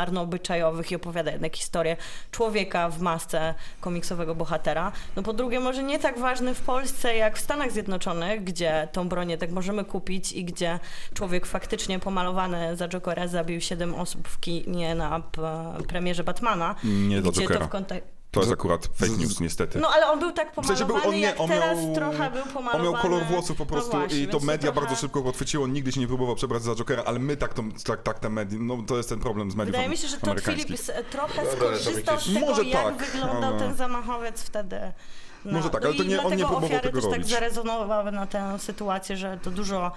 fabularno-obyczajowych i opowiada jednak historię człowieka w masce komiksowego bohatera. No po drugie, może nie tak ważny w Polsce jak w Stanach Zjednoczonych, gdzie tą broń jednak możemy kupić i gdzie człowiek faktycznie pomalowany za Jokera zabił 7 osób w kinie na p- e, premierze Batmana. Nie za gdzie to Jokera. w kontek- To jest akurat fake news, niestety. No ale on był tak W pomalowany, sensie był on nie, jak on teraz miał, trochę był on pomalowany. miał kolor włosów po prostu no właśnie, i to więc media trochę- bardzo szybko go odchwyciło, nigdy się nie próbował przebrać za Jokera, ale my tak, to, tak, tak te media, no to jest ten problem z mediów Wydaje mi się, że Todd amerykańskich. Phillips e, trochę No, Dobra, ale tam skorzystał jakieś- z tego, Może jak tak, wyglądał ale- ten zamachowiec wtedy. No, Może tak, no ale to i nie- on nie dlatego próbował ofiary tego też tak robić. zarezonowały na tę sytuację, że to dużo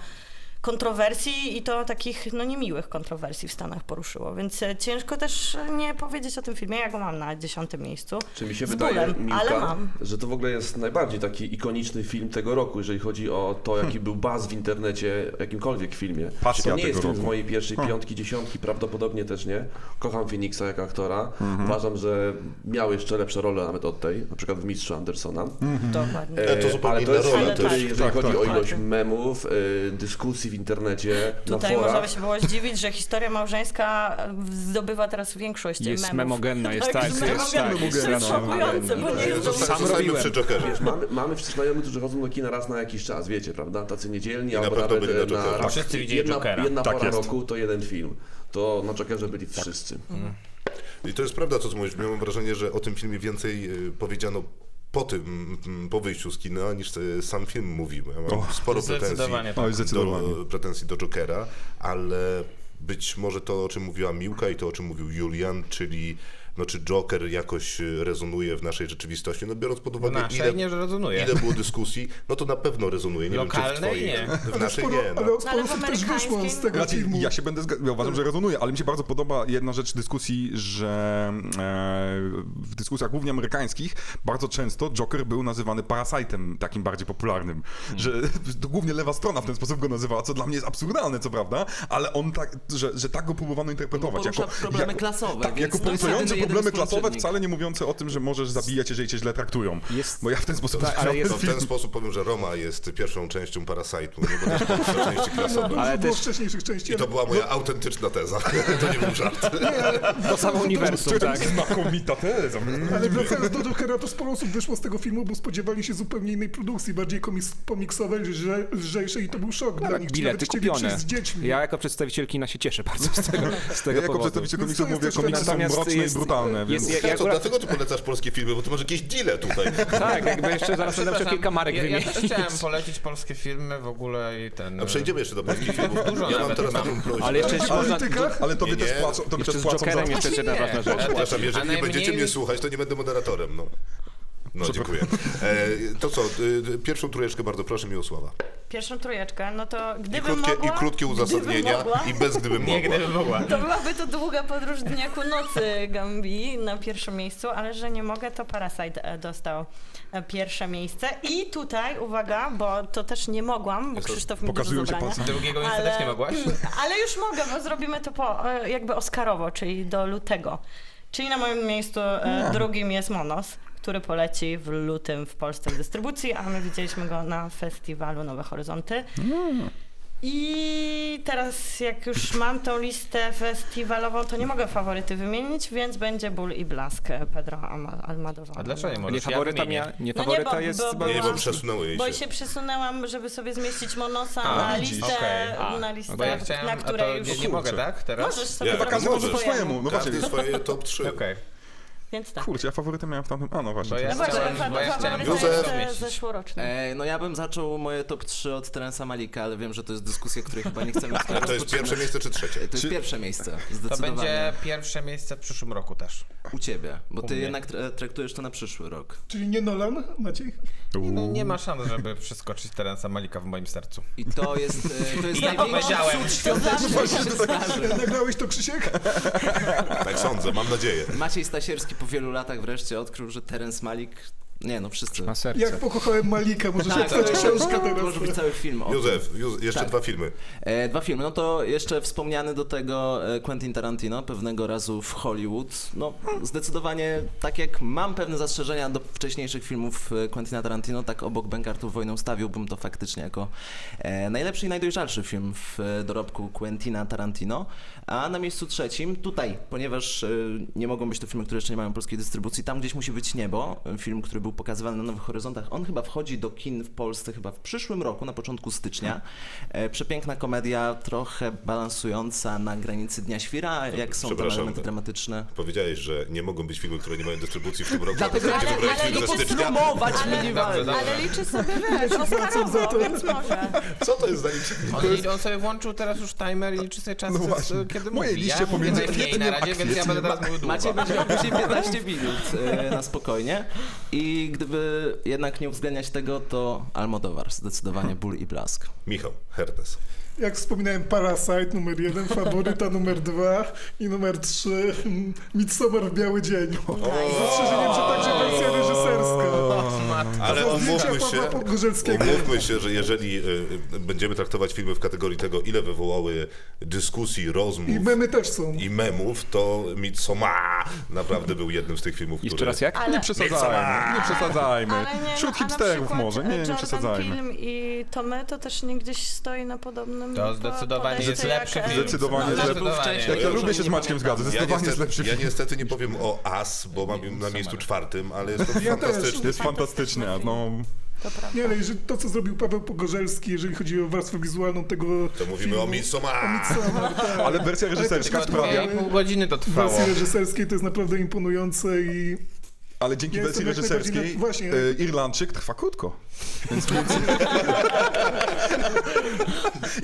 kontrowersji i to takich no, niemiłych kontrowersji w Stanach poruszyło, więc e, ciężko też e, nie powiedzieć o tym filmie. Ja go mam na dziesiątym miejscu. Czy mi się Z wydaje, bólem, Miłka, ale mam. że to w ogóle jest najbardziej taki ikoniczny film tego roku, jeżeli chodzi o to, jaki był baz w internecie, w jakimkolwiek filmie. Hm. Pasja to nie tego jest film z roku. Hm. mojej pierwszej piątki, dziesiątki, prawdopodobnie też nie. Kocham Phoenixa jako aktora. Mhm. Uważam, że miał jeszcze lepsze role nawet od tej, na przykład w Mistrzu Andersona. Mhm. Dokładnie. E, to zupełnie ale to inna jest rola film, też. który, jeżeli Tak, chodzi tak. o ilość Tak. memów, y, dyskusji w internecie, Tutaj na można by forach. się było zdziwić, że historia małżeńska e, zdobywa teraz większość Jest memów. memogenna, jest tak, jest że tak. memogenna. jest To jest tak. szokujące, bo nie no no. jest Sam Zostańmy robiłem. przy Jokerze. Wiesz, mamy, mamy wśród znajomych, którzy chodzą do kina raz na jakiś czas, wiecie, prawda? Tacy niedzielni, albo na pewno nawet byli na e, na, Jokerze. raz- Wszyscy widzieli jedna, Jokera. Tak. Jedna Tak pora jest. roku to jeden film. To na Jokerze byli wszyscy. Mhm. I to jest prawda, co ty mówisz. Miałem wrażenie, że o tym filmie więcej y, powiedziano po tym, mm, po wyjściu z kina, niż y, sam film mówił. Ja mam sporo pretensji, Zdecydowanie tak. Oj, zdecydowanie. do, pretensji do Jokera, ale być może to, o czym mówiła Miłka i to, o czym mówił Julian, czyli no, czy Joker jakoś y, rezonuje w naszej rzeczywistości, no biorąc pod uwagę, Naszej ile, nie rezonuje. ile było dyskusji, no to na pewno rezonuje. Nie wiem, czy w Lokalnej twojej, nie. w naszej Sporo, nie. ale No. No, ale sporo w osób też wyszło z amerykańskim- tego Znaczy, filmu. ja się będę zgadzał, ja uważam, że rezonuje, ale mi się bardzo podoba jedna rzecz dyskusji, że e, w dyskusjach głównie amerykańskich bardzo często Joker był nazywany parasajtem takim bardziej popularnym, że to głównie lewa strona w ten sposób go nazywała, co dla mnie jest absurdalne, co prawda, ale on tak, że, że tak go próbowano interpretować. No, porusza problemy klasowe, Tak, więc jako no, punktujące wtedy jeden problemy klasowe, współczynnik. wcale nie mówiące o tym, że możesz zabijać, jeżeli cię źle traktują. Jest- Bo ja w ten sposób Tak, ale chciałem jest- To no, w ten sposób powiem, że Roma jest pierwszą częścią Parasite'u, nie bo też pierwszą części klasowej. Ale Ale było też- wcześniejszych części. I to ale- była moja autentyczna teza. To nie był żart. To samo uniwersum, tak. Znakomita teza. Ale wracając do Jokera, to sporo osób wyszło z tego filmu, bo spodziewali się zupełnie innej produkcji, bardziej komis- komiksowej, lże, lżejszej i to był szok dla Tak, nich. Ci Tak, Bilety nawet chcieli kupione. przyjść z dziećmi. Ja jako przedstawiciel kina się cieszę bardzo z tego, z tego Tak, Ja jako powodu. przedstawiciel Więc to komiksów jest mówię, też komiksy są Natomiast mroczne jest- i brutalne, więc... jest- Ja, Ja co, akurat- dlatego Znaczy, ty polecasz polskie filmy, bo ty masz jakieś deale tutaj. Tak, jakby jeszcze zaraz będę musiał Przepraszam, kilka marek ja, ja też wymienić. chciałem polecić polskie filmy w ogóle i ten... A przejdziemy jeszcze do polskich filmów. Dużo ja mam nawet teraz mam. taką prośbę. Ale jeszcze W można... politykach? Ale tobie Nie, też nie. płacą, tobie Jeszcze też z płacą za... Jokerem jeszcze jedna Nie. ważna rzecz. Przepraszam, jeżeli A nie będziecie najmniej- mnie słuchać, to nie będę moderatorem. No, no dziękuję. E, to co, y, pierwszą trójeczkę bardzo proszę, Miłosława. Pierwszą trójeczkę, no to I gdybym krótkie, mogła... I krótkie gdybym uzasadnienia mogła, i bez gdyby Nie, mogła. gdyby mogła. To byłaby to długa podróż dnia ku nocy Gambii na pierwszym miejscu, ale że nie mogę, to Parasite e, dostał e, pierwsze miejsce. I tutaj, uwaga, bo to też nie mogłam, bo Krzysztof mi dużo Pokazują się zabrania. palce. no. Drugiego miejsca też nie mogłaś? Ale już mogę, bo zrobimy to po, e, jakby Oscarowo, czyli do lutego. Czyli na moim miejscu e, drugim jest Monos, który poleci w lutym w Polsce w dystrybucji, a my widzieliśmy go na festiwalu Nowe Horyzonty. I teraz jak już mam tą listę festiwalową, to nie mogę faworyty wymienić, więc będzie Ból i Blask e, Pedro Alma- Almodovar. A dlaczego nie Nie możesz? faworyta, wymienię. mia, nie No nie, faworyta bo- jest... bo- chyba- Nie, bo przesunęły jej Bo się. i się przesunęłam, żeby sobie zmieścić Monosa A, na widzisz. listę, Okej. A, na listę, Bo ja chciałem, na a to której już... nie, nie mogę, tak? Teraz? Możesz sobie Nie, zrobić Każdy może po swojemu, no właśnie. Każdy swoje top 3. No, Okej. Więc tak. Kurczę, ja faworytę miałem w tamtym... A, no właśnie. Bo ja No właśnie, chciałem- fa- bo ja chciałem faworyta Józef. jest zeszłoroczna. E, no ja bym zaczął moje top 3 od Terensa Malika, ale wiem, że to jest dyskusja, której chyba nie chcemy A to jest pierwsze miejsce czy trzecie? To jest pierwsze miejsce, To zdecydowanie. będzie pierwsze miejsce w przyszłym roku też. u ciebie, bo ty mnie. jednak tra- traktujesz to na przyszły rok. Czyli nie Nolan, Maciej? No, nie ma szans, żeby przeskoczyć Terensa Malika w moim sercu. I to jest, e, to jest Ja największy powiedziałem. znaczy, cud świąteczny, który się zdarzy. Nagrałeś to, Krzysiek? Tak sądzę, mam nadzieję. Maciej Stasierski po wielu latach wreszcie odkrył, że Terence Malik... Nie no, wszyscy. Na serce. Jak pokochałem Malika, możesz Tak, to jest napisać książkę teraz. może być cały film o tym. Józef, Józef jeszcze Tak. dwa filmy. E, dwa filmy. No to jeszcze wspomniany do tego e, Quentin Tarantino pewnego razu w Hollywood. No zdecydowanie tak jak mam pewne zastrzeżenia do wcześniejszych filmów e, Quentina Tarantino, tak obok Bankartów Wojną stawiłbym to faktycznie jako e, najlepszy i najdojrzalszy film w e, dorobku Quentina Tarantino. A na miejscu trzecim, tutaj, ponieważ e, nie mogą być to filmy, które jeszcze nie mają polskiej dystrybucji, tam gdzieś musi być niebo. Film, który był był pokazywany na Nowych Horyzontach, on chyba wchodzi do kin w Polsce chyba w przyszłym roku, na początku stycznia. E, Przepiękna komedia, trochę balansująca na granicy Dnia Świra, jak są tam przepraszam. elementy dramatyczne. Powiedziałeś, że nie mogą być filmy, które nie mają dystrybucji w tym roku. Dlatego a ale- będzie wybrać ale film liczy ze stycznia. Promować Ale- minimalnie. Dobrze, Ale liczy sobie, wiesz, Wiecie, wracam za Oscarowo, to. więc może. Co to jest zdaniem ciebie? On, li- on sobie włączył teraz już timer i liczy sobie czas, No co- właśnie. kiedy Moje mówi. liście ja mówię pomiędzy najmniej kwietniem na a razie, więc ja kwietniem. będę teraz mówił długo. Macie będzie później 15 minut e, na spokojnie. I gdyby jednak nie uwzględniać tego, to Almodowar zdecydowanie ból i blask. Michał, Hernes. Jak wspominałem, Parasite numer jeden, Faworyta numer dwa i numer trzy mm, Midsommar w biały dzień. Z zastrzeżeniem, że także wersja reżyserska. Ale Za zdjęcia umówmy Pawła się, Podgórzelskiego. umówmy się, że jeżeli y, y, będziemy traktować filmy w kategorii tego, ile wywołały dyskusji, rozmów I memy też są. i memów, to Midsommar naprawdę był jednym z tych filmów, Jeszcze który... raz jak? Ale- Nie przesadzajmy, nie przesadzajmy. Ale nie, no, Wśród a na hipsterów przykład może, nie, nie Jordan przesadzajmy. Peele i Tomy to też nie gdzieś stoi na podobnym To po- No, zdecydowanie jest podejściu lepszy jak, e, film. Zdecydowanie No, jest lepszy. zdecydowanie. Jak ja Ja lubię się z Maćkiem nie pamiętam. zgadzać, Ja zdecydowanie jest lepszy niestety, ja film. niestety nie powiem o As, bo mam na miejscu czwartym, ale jest to fantastyczny. Jest fantastyczny, a no... To prawda. Nie, ale jeżeli to, co zrobił Paweł Pogorzelski, jeżeli chodzi o warstwę wizualną tego To mówimy filmu, o Midsommar. Midsommar, tak. Ale wersja reżyserska sprawia... Dwie i pół godziny to W trwało. wersji reżyserskiej to jest naprawdę imponujące i Ale dzięki Ja wersji jestem jak reżyserskiej najbardziej na- właśnie. e, Irlandczyk trwa krótko. Więc...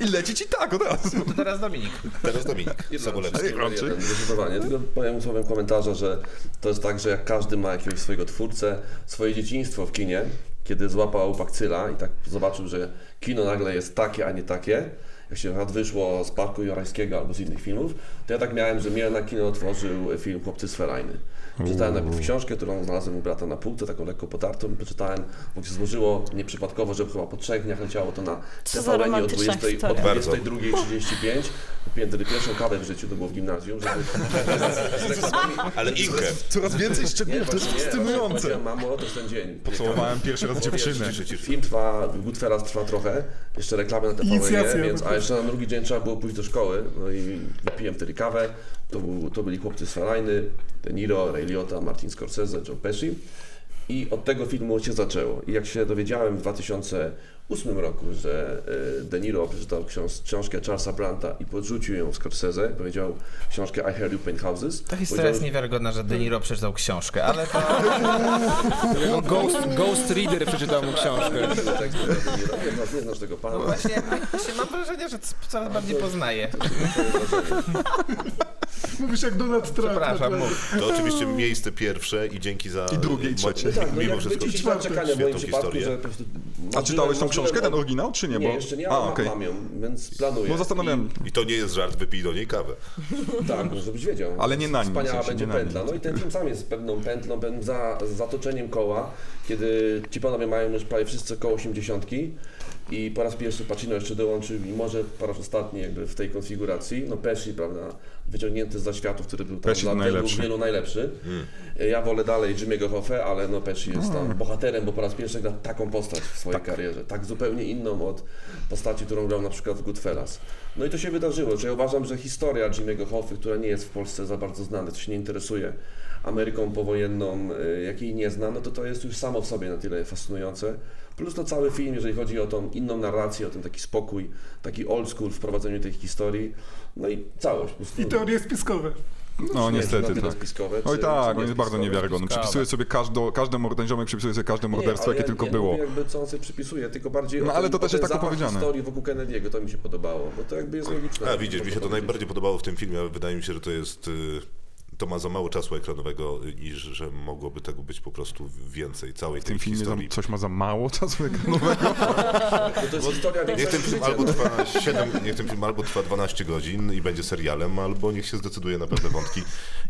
I leci ci tak od razu. To teraz Dominik. Teraz Dominik, Sobolewski. Ej, Irlandczyk. Jeden, Zdecydowanie. Tylko powiem słowem komentarza, że to jest tak, że jak każdy ma jakiegoś swojego twórcę, swoje dzieciństwo w kinie, kiedy złapał bakcyla i tak zobaczył, że kino nagle jest takie, a nie takie, jak się nawet wyszło z Parku Jorajskiego albo z innych filmów, to ja tak miałem, że mnie na kino otworzył film Chłopcy z Ferajny. Przeczytałem najpierw książkę, którą znalazłem u brata na półce, taką lekko potartą, przeczytałem, bo się złożyło nieprzypadkowo, że chyba po trzech dniach leciało to na Co za TVN o romantyczna 20, o historia. 22.35. Kupiłem wtedy pierwszą kawę w życiu, to było w gimnazjum, żeby... Ale Inkę. Coraz więcej szczegółów, to jest fascynujące. Powiedziałem, mamo, to jest ten dzień. Pocałowałem pierwszy raz dziewczynę. Film trwa, Goodfellas trwa trochę, jeszcze reklamy na TVN, Inicjacja. więc, a jeszcze na drugi dzień trzeba było pójść do szkoły, no i piłem wtedy kawę, to, był, to byli chłopcy z Farajny, De Niro, Ray Liotta, Martin Scorsese, Joe Pesci i od tego filmu się zaczęło. I jak się dowiedziałem w 2008 roku, że e, De Niro przeczytał książ- książkę Charlesa Branta i podrzucił ją Scorsese, powiedział książkę I Heard You Paint Houses, Ta historia jest powiedział, niewiarygodna, że De Niro przeczytał książkę, ale to... No, Ghost, Ghost Reader przeczytał mu książkę. nie, nie, znasz- nie znasz tego pana. Właśnie, właśnie mam wrażenie, że c- coraz bardziej poznaję. Tak, mówisz jak Donald Trump. Przepraszam, naprawdę. mów. To oczywiście miejsce pierwsze i dzięki za... I drugie, i mo- trzecie. Tak, no Mimo jakby wszystko. dziś mam czekania w moim świetną przypadku, historię. że po prostu A czytałeś tą marzyłem- książkę, ten marzyłem o- oryginał, czy nie? no, Nie, Bo... jeszcze nie, A, ale mam- okej. mam ją, więc planuję. Bo zastanawiałem, I to nie jest żart, wypij do niej kawę. I, tak, żebyś wiedział. Ale nie na nim, w Wspaniała sensie, będzie nie na nim. pętla. No i ten film sam jest pewną pętlą, pewnym za, zatoczeniem koła, kiedy ci panowie mają już prawie wszyscy około 80 i po raz pierwszy Pacino jeszcze dołączył i może po raz ostatni jakby w tej konfiguracji, no Pesci, prawda, wyciągnięty z zaświatów, który był tam Pesci dla to wielu, najlepszy. wielu najlepszy. Ja wolę dalej Jimmy'ego Hoffe, ale no Pesci jest tam bohaterem, bo po raz pierwszy gra taką postać w swojej karierze, tak zupełnie inną od postaci, którą grał na przykład w Goodfellas. No i to się wydarzyło, że ja uważam, że historia Jimmy'ego Hoffy, która nie jest w Polsce za bardzo znana, to się nie interesuje Ameryką powojenną, y, jak jej nie zna, no to to jest już samo w sobie na tyle fascynujące. Plus to cały film, jeżeli chodzi o tą inną narrację, o ten taki spokój, taki old school w prowadzeniu tej historii, no i całość. po prostu. I teorie spiskowe. No Nie wiem, czy na niestety tyle tak. spiskowe, Oj czy- tak, czy on nie jest bardzo spiskowe. niewiarygodny. spiskowe. Przypisuje sobie każdo, każdemu, ten ziomek przypisuje sobie każde Nie, morderstwo, ale jakie ja tylko nie było. Mówię jakby co on sobie przypisuje, tylko bardziej No, o ale ten, to też o ten jest tak zapach opowiedziane. historii wokół Kennedy'ego, to mi się podobało, bo to jakby jest logiczne. tak A widzisz, mi się to powiedzieć. najbardziej podobało w tym filmie, ale wydaje mi się, że to jest... y, To ma za mało czasu ekranowego i że że mogłoby tego być po prostu więcej, całej W tym tej filmie tam historii. coś ma za mało czasu ekranowego. No to jest historia Niech większości ten, film życia. albo trwa 7, niech ten film albo trwa 12 godzin i będzie serialem, albo niech się zdecyduje na pewne wątki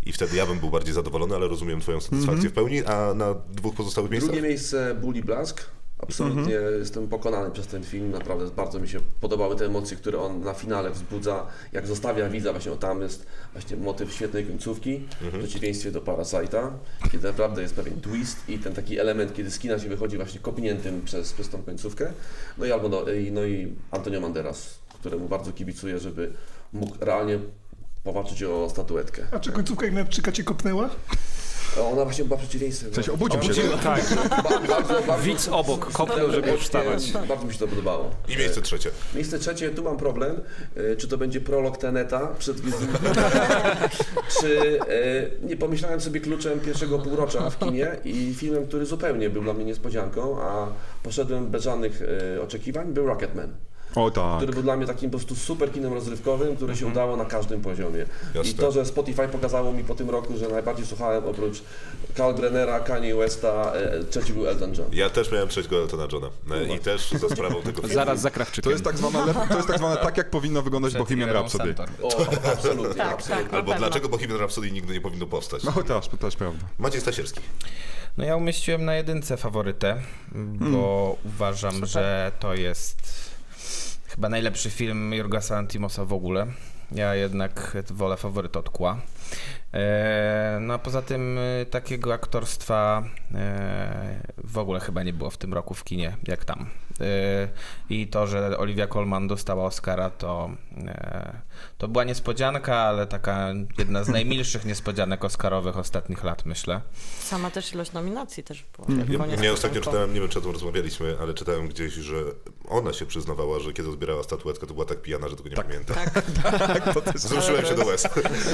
i wtedy ja bym był bardziej zadowolony, ale rozumiem twoją Mhm. satysfakcję w pełni, a na dwóch pozostałych miejscach? Drugie miejsce Bully Blask. Absolutnie jestem pokonany przez ten film. Naprawdę bardzo mi się podobały te emocje, które on na finale wzbudza, jak zostawia widza. Właśnie o tam jest właśnie motyw świetnej końcówki, w przeciwieństwie do Parasite'a, kiedy naprawdę jest pewien twist i ten taki element, kiedy z kina się wychodzi właśnie kopniętym przez, przez tą końcówkę. No i albo no, i- no i Antonio Manderas, któremu bardzo kibicuję, żeby mógł realnie powalczyć o statuetkę. Tak. A czy końcówka Irlandczyka cię kopnęła? Ona właśnie była przeciwieństwem. W sensie obudził się. Tak, bardzo, bardzo, widz obok kopnął, żeby już wstawać. bardzo mi się to podobało. I miejsce trzecie. Miejsce trzecie, tu mam problem. E, Czy to będzie prolog Teneta przed wizytą? Czy e, nie pomyślałem sobie kluczem pierwszego półrocza w kinie i filmem, który zupełnie był dla mnie niespodzianką, a poszedłem bez żadnych e, oczekiwań, był Rocketman. O tak. Który był dla mnie takim po prostu super kinem rozrywkowym, które Mhm. się udało na każdym poziomie. I Jasne. to, że Spotify pokazało mi po tym roku, że najbardziej słuchałem oprócz Carl Brennera, Kanye Westa, e, trzeci był Elton John. Ja też miałem trzeciego Eltona Johna e, i też za sprawą tego filmu. Zaraz za To Krawczykiem. jest tak zwane, lep- to jest tak zwane tak, jak powinno wyglądać Bohemian Irą Rhapsody. Santor. O, absolutnie, Tak, absolutnie. tak. Albo Na pewno. dlaczego Bohemian Rhapsody nigdy nie powinno powstać. No też, też prawda. Maciej Stasierski. No ja umieściłem na jedynce faworytę, bo uważam, że to jest chyba najlepszy film Jurgasa Antimosa w ogóle. Ja jednak wolę faworyt od kła. E, No a poza tym e, takiego aktorstwa e, w ogóle chyba nie było w tym roku w kinie, jak tam. E, I to, że Olivia Colman dostała Oscara, to, e, to była niespodzianka, ale taka jedna z najmilszych niespodzianek Oscarowych ostatnich lat, myślę. Sama też ilość nominacji też była. Ja, Koniec ja Mhm. ostatnio końców. czytałem, nie wiem czy o tym rozmawialiśmy, ale czytałem gdzieś, że ona się przyznawała, że kiedy odbierała statuetkę, to była tak pijana, że tego nie pamięta. tak. Wzruszyłem się do łez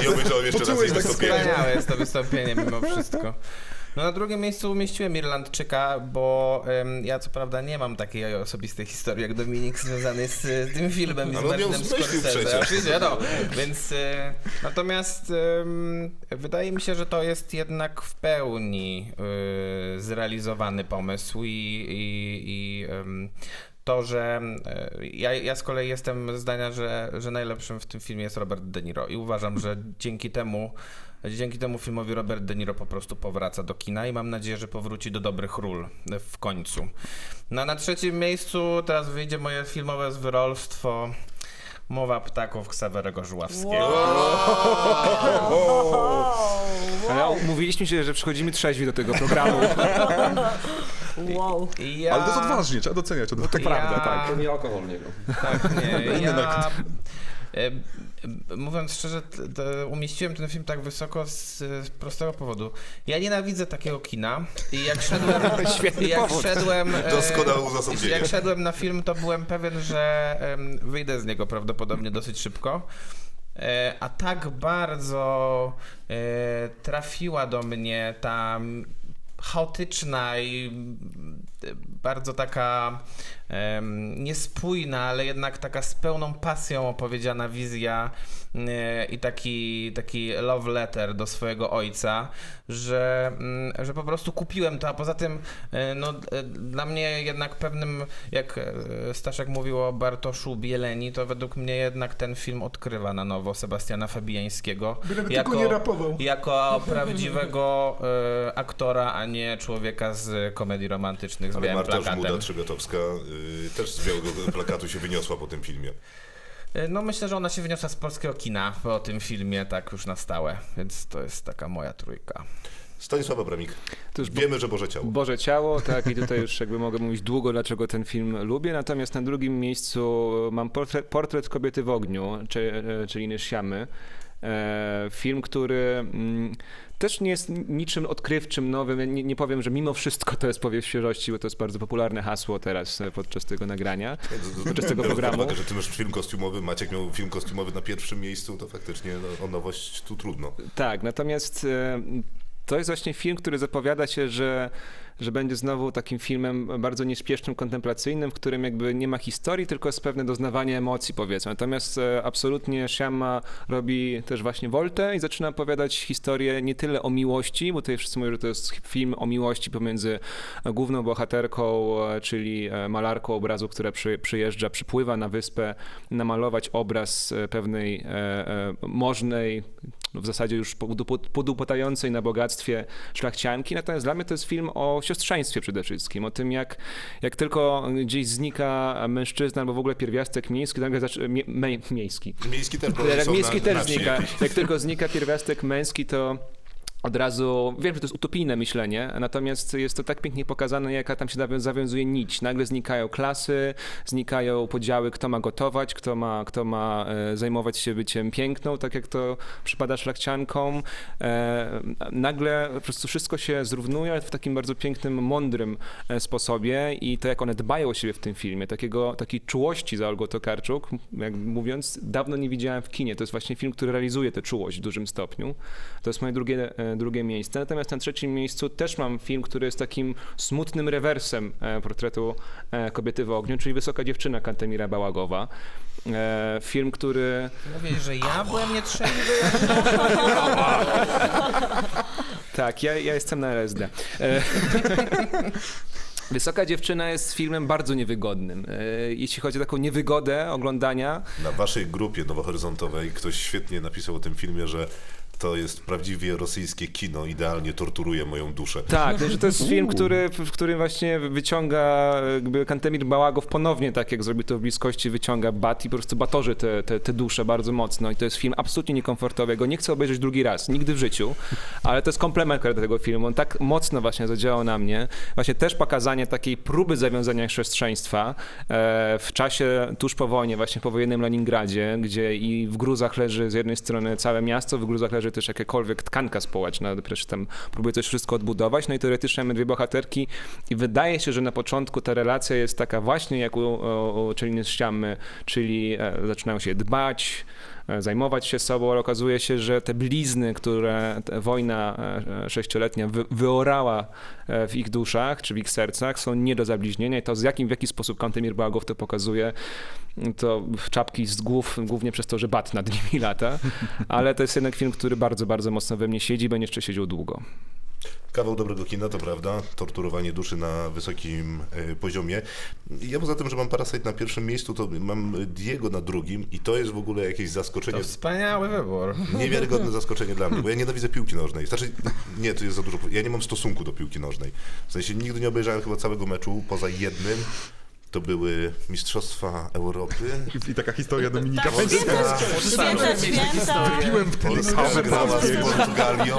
i obejrzałem jeszcze raz jej wystąpienie. Wspaniałe jest to wystąpienie mimo wszystko. No na drugim miejscu umieściłem Irlandczyka, bo em, ja co prawda nie mam takiej osobistej historii jak Dominik związanej z, z tym filmem i z Ale on ją Martinem zmyślił Scorsese. przecież. Oczywiście, wiadomo. Więc e, natomiast em, wydaje mi się, że to jest jednak w pełni e, zrealizowany pomysł i, i, i em, to, że e, ja, ja z kolei jestem zdania, że, że najlepszym w tym filmie jest Robert De Niro i uważam, że dzięki temu Dzięki temu filmowi Robert De Niro po prostu powraca do kina i mam nadzieję, że powróci do dobrych ról e, w końcu. No, na trzecim miejscu teraz wyjdzie moje filmowe zwyrolstwo Mowa ptaków Ksawerego Żuławskiego. Ale mówiliśmy się, że przychodzimy trzeźwi do tego programu. Wow. I Ja... Ale to jest odważnie, trzeba doceniać. Odważnie. ja... To nie alkohol w niego. Tak, nie, ja... e, e, Mówiąc szczerze, t- t- umieściłem ten film tak wysoko z, z prostego powodu. Ja nienawidzę takiego kina i jak szedłem, Świetny i jak powód. szedłem e, Doskonałe uzasadnienie. Jak szedłem na film, to byłem pewien, że em, wyjdę z niego prawdopodobnie dosyć szybko. E, A tak bardzo e, trafiła do mnie ta mm, chaotyczna i mm, bardzo taka em, niespójna, ale jednak taka z pełną pasją opowiedziana wizja e, i taki, taki love letter do swojego ojca, że, mm, że po prostu kupiłem to, a poza tym e, no, d- e, dla mnie jednak pewnym, jak e, Staszek mówił o Bartoszu Bieleni, to według mnie jednak ten film odkrywa na nowo Sebastiana Fabiańskiego. Byleby tylko nie rapował. Jako prawdziwego e, aktora, a nie człowieka z komedii romantycznych z Ale białym Marta Żmuda plakatem. Trzebiatowska y, też z białego plakatu się wyniosła po tym filmie. E, No myślę, że ona się wyniosła z polskiego kina po tym filmie tak już na stałe, więc to jest taka moja trójka. Stanisław Abramik. To już Wiemy, że Boże Ciało. Boże Ciało, tak, i tutaj już jakby mogę mówić długo, dlaczego ten film lubię. Natomiast na drugim miejscu mam portret, portret kobiety w ogniu, czy, czyli Nysiamy. E, Film, który mm, też nie jest niczym odkrywczym, nowym. Ja Nie, nie powiem, że mimo wszystko to jest powieść świeżości, bo to jest bardzo popularne hasło teraz e, podczas tego nagrania, podczas tego Biorąc pod programu. uwagę, że ty masz film kostiumowy, Maciek miał film kostiumowy na pierwszym miejscu, to faktycznie no, o nowość tu trudno. Tak, natomiast e, to jest właśnie film, który zapowiada się, że, że będzie znowu takim filmem bardzo nieśpiesznym, kontemplacyjnym, w którym jakby nie ma historii, tylko jest pewne doznawanie emocji, powiedzmy. Natomiast e, absolutnie Shyama robi też właśnie woltę i zaczyna opowiadać historię nie tyle o miłości, bo tutaj wszyscy mówią, że to jest film o miłości pomiędzy główną bohaterką, e, czyli e, malarką obrazu, która przy, przyjeżdża, przypływa na wyspę namalować obraz e, pewnej e, e, możnej, no w zasadzie już podupo- podupatającej na bogactwie szlachcianki. Natomiast dla mnie to jest film o siostrzeństwie przede wszystkim, o tym jak, jak tylko gdzieś znika mężczyzna albo w ogóle pierwiastek miejski, nagle zaczy... mie- mej- miejski. Miejski też, bo Jak są miejski na, też na wsi znika. jakieś. Jak tylko znika pierwiastek męski, to od razu, wiem, że to jest utopijne myślenie, natomiast jest to tak pięknie pokazane, jaka tam się zawią- zawiązuje nić. Nagle znikają klasy, znikają podziały, kto ma gotować, kto ma, kto ma e, zajmować się byciem piękną, tak jak to przypada szlachciankom. E, Nagle po prostu wszystko się zrównuje, ale w takim bardzo pięknym, mądrym e, sposobie i to, jak one dbają o siebie w tym filmie, takiego, takiej czułości za Olgo Tokarczuk, jak mówiąc, dawno nie widziałem w kinie. To jest właśnie film, który realizuje tę czułość w dużym stopniu. To jest moje drugie, e, drugie miejsce. Natomiast na trzecim miejscu też mam film, który jest takim smutnym rewersem e, portretu e, kobiety w ogniu, czyli Wysoka dziewczyna Kantemira Bałagowa. E, Film, który Mówię, że ja byłem nietrzeźwy. Tak, ja, ja jestem na LSD. E, Wysoka dziewczyna jest filmem bardzo niewygodnym. E, Jeśli chodzi o taką niewygodę oglądania, Na waszej grupie nowohoryzontowej ktoś świetnie napisał o tym filmie, że to jest prawdziwie rosyjskie kino, idealnie torturuje moją duszę. tak, to, że to jest film, który, w którym właśnie wyciąga jakby Kantemir Bałagow ponownie, tak jak zrobił to w bliskości, wyciąga bat i po prostu batorzy te, te, te dusze bardzo mocno. I to jest film absolutnie niekomfortowy. Ja go nie chcę obejrzeć drugi raz, nigdy w życiu, ale to jest komplement akurat do tego filmu. On tak mocno właśnie zadziałał na mnie. Właśnie też pokazanie takiej próby zawiązania chrześcijaństwa e, w czasie tuż po wojnie, właśnie po wojennym Leningradzie, gdzie i w gruzach leży z jednej strony całe miasto, w gruzach leży też jakakolwiek tkanka społeczna, przecież tam próbuje coś wszystko odbudować, no i teoretycznie mamy dwie bohaterki i wydaje się, że na początku ta relacja jest taka właśnie jak u, u, u Czeliny z Ściamy, czyli e, zaczynają się dbać, e, zajmować się sobą, ale okazuje się, że te blizny, które te wojna e, e, sześcioletnia wy, wyorała e, w ich duszach czy w ich sercach, są nie do zabliźnienia i to z jakim, w jaki sposób Kantemir Bałagow to pokazuje, to czapki z głów, głównie przez to, że bat nad nimi lata, ale to jest jednak film, który bardzo, bardzo mocno we mnie siedzi, będzie jeszcze siedział długo. Kawał dobrego kina, to prawda, torturowanie duszy na wysokim e, poziomie. Ja poza tym, że mam Parasite na pierwszym miejscu, to mam Diego na drugim i to jest w ogóle jakieś zaskoczenie. To wspaniały wybór. Niewiarygodne zaskoczenie dla mnie, bo ja nienawidzę piłki nożnej. Znaczy, nie, to jest za dużo. Ja nie mam stosunku do piłki nożnej. W sensie nigdy nie obejrzałem chyba całego meczu, poza jednym. To były Mistrzostwa Europy. I, I taka historia Dominika Tak, tak, Wędrówki. święta, święta, święta. Piłem w tyle Polska kawę wygrała prawie. z Portugalią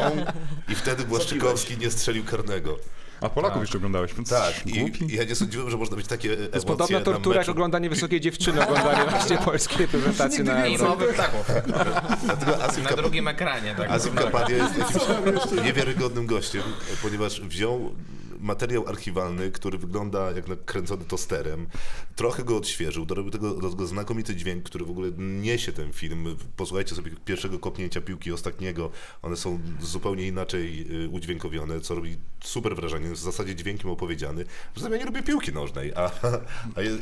i wtedy Błaszczykowski nie strzelił karnego. A Polaków jeszcze oglądałeś, więc Tak, i głupi. ja nie sądziłem, że można być takie emocje To jest podobna na tortura jak meczu. oglądanie wysokiej dziewczyny, oglądanie właśnie polskiej reprezentacji na Euro. Nowy ptaków. Dlatego Asim, Na Kap- drugim ekranie. tak. Asim Kapadia jest jakimś niewiarygodnym gościem, ponieważ wziął materiał archiwalny, który wygląda jak na- kręcony tosterem, trochę go odświeżył, dorobił tego, do tego znakomity dźwięk, który w ogóle niesie ten film. Posłuchajcie sobie pierwszego kopnięcia piłki, ostatniego. One są zupełnie inaczej y, udźwiękowione, co robi super wrażenie. Jest w zasadzie dźwiękiem opowiedziany. Zatem ja nie lubię piłki nożnej, a, a, je-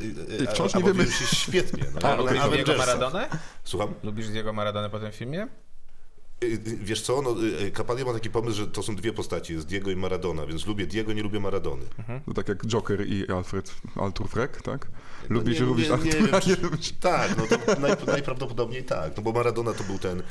a, a, Wciąż a nie wiemy. bawiłem się świetnie. No, A na lubisz Diego Avengersach. Maradonę? Słucham? Lubisz Diego Maradonę po tym filmie? Y, y, Wiesz co, no, y, y, Kapadia ma taki pomysł, że to są dwie postaci, jest Diego i Maradona, więc lubię Diego, nie lubię Maradony. To tak jak Joker i Alfred, Altur Freck, tak? No Lubisz, nie- lubisz nie- nie Artura, wiem, nie czy- lubisz. Tak, no to naj, najprawdopodobniej tak, no bo Maradona to był ten e,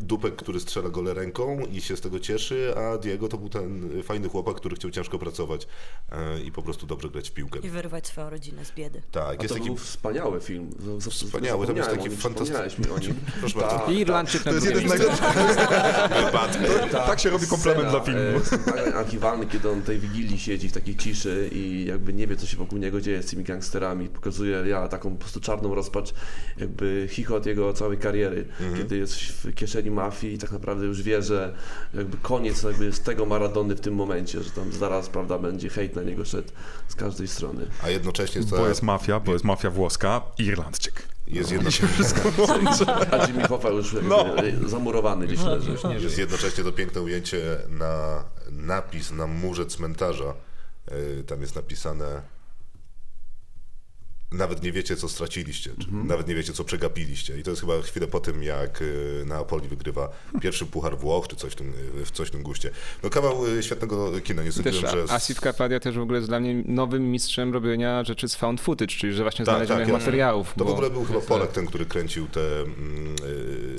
dupek, który strzela gole ręką i się z tego cieszy, a Diego to był ten fajny chłopak, który chciał ciężko pracować e, i po prostu dobrze grać w piłkę. I wyrwać swoją rodzinę z biedy. Tak, A jest to taki... był wspaniały film. Z- z- Wspaniały, tam jest zapomniałem taki o nim, fantastyczny- Wspomniałeś mi o nim. Proszę Tak, bardzo, I Irlandczyk na To jest drugim jeden z miejscu. najlepszych. wypadek. Tak się robi komplement dla filmu. e, Archiwalny, kiedy on tej wigilii siedzi w takiej ciszy i jakby nie wie, co się wokół niego dzieje z tymi gangsterami. Pokazuje ja taką po prostu czarną rozpacz, jakby chichot jego całej kariery, Mhm. kiedy jest w kieszeni mafii i tak naprawdę już wie, że jakby koniec jakby jest tego Maradony w tym momencie, że tam zaraz, prawda, będzie hejt na niego szedł z każdej strony. A jednocześnie jest, Bo jest mafia, bo jest mafia włoska, Irlandczyk. jest, jednocześnie, A Jimmy Hoffa już jakby No. zamurowany gdzieś No, leży. jest jednocześnie to piękne ujęcie na napis na murze cmentarza. E, Tam jest napisane nawet nie wiecie, co straciliście, czy nawet nie wiecie, co przegapiliście. I to jest chyba chwilę po tym, jak e, Neapoli wygrywa pierwszy puchar Włoch, czy coś w tym, e, w coś w tym guście. No kawał e, świetnego kina, nie Też sądziłem, że... Asif Kapadia też w ogóle jest dla mnie nowym mistrzem robienia rzeczy z found footage, czyli że właśnie Tak, znalezionych tak, ja- materiałów. To w bo- ogóle był chyba Polak ten, który kręcił te, mm,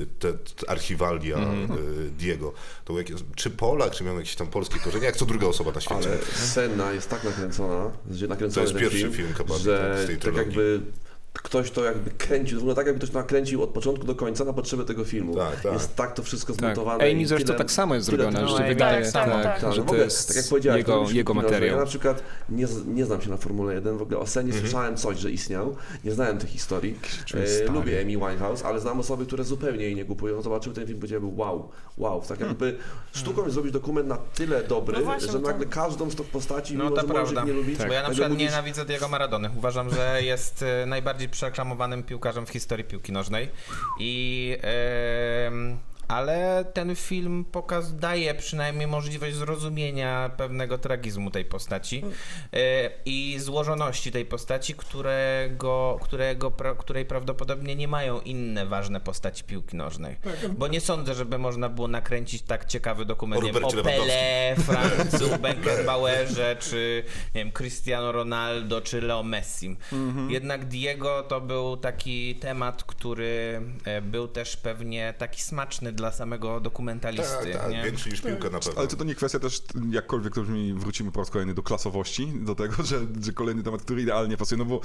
y, te t- archiwalia y, Diego. To był jakiś, czy Polak, czy miał jakieś tam polskie korzenie, jak co druga osoba na świecie. Ale scena jest tak nakręcona, że nakręcony To jest ten pierwszy film, film Kabady, że tak, z tej tak trylogii. jakby ktoś to jakby kręcił, to wygląda tak, jakby ktoś nakręcił od początku do końca na potrzeby tego filmu. Tak, tak. Jest tak to wszystko Tak. zmontowane. i Amy zresztą tyle- tak samo jest tyle zrobiona, tych że się No, Amy wydaje, tak tak, samo, tak. że w to ogóle, jest tak jak powiedziałeś, to jego, robiliśmy jego kino, że Ja materiał. na przykład nie, z- nie znam się na Formule 1, w ogóle o Senie słyszałem coś, że istniał, nie znałem tych historii. czuję E, stary. lubię Amy Winehouse, ale znam osoby, które zupełnie jej nie kupują. Zobaczyły ten film i powiedziały wow, wow. Tak jakby sztuką jest zrobić dokument na tyle dobry, No właśnie, że bo to- nagle każdą z tych postaci, No mimo to że możesz prawda. ich nie lubić, Tak. Bo ja na nagle przykład mówisz, nienawidzę Diego Maradony. Uważam, że jest e, najbardziej przereklamowanym piłkarzem w historii piłki nożnej. I. em, ale ten film pokaz daje przynajmniej możliwość zrozumienia pewnego tragizmu tej postaci e, i złożoności tej postaci, którego, którego, pra- której prawdopodobnie nie mają inne ważne postaci piłki nożnej. Bo nie sądzę, żeby można było nakręcić tak ciekawy dokument O nie wiem, Robercie o Pele, Lewandowskim. Francu, Beckenbauerze, czy nie wiem, Cristiano Ronaldo, czy Leo Messi. Jednak Diego to był taki temat, który e, był też pewnie taki smaczny dla samego dokumentalisty. Tak, tak, nie? większy niż piłka na pewno. Ale czy to nie kwestia też, jakkolwiek to brzmi, wrócimy po raz kolejny do klasowości, do tego, że, że kolejny temat, który idealnie pasuje, no bo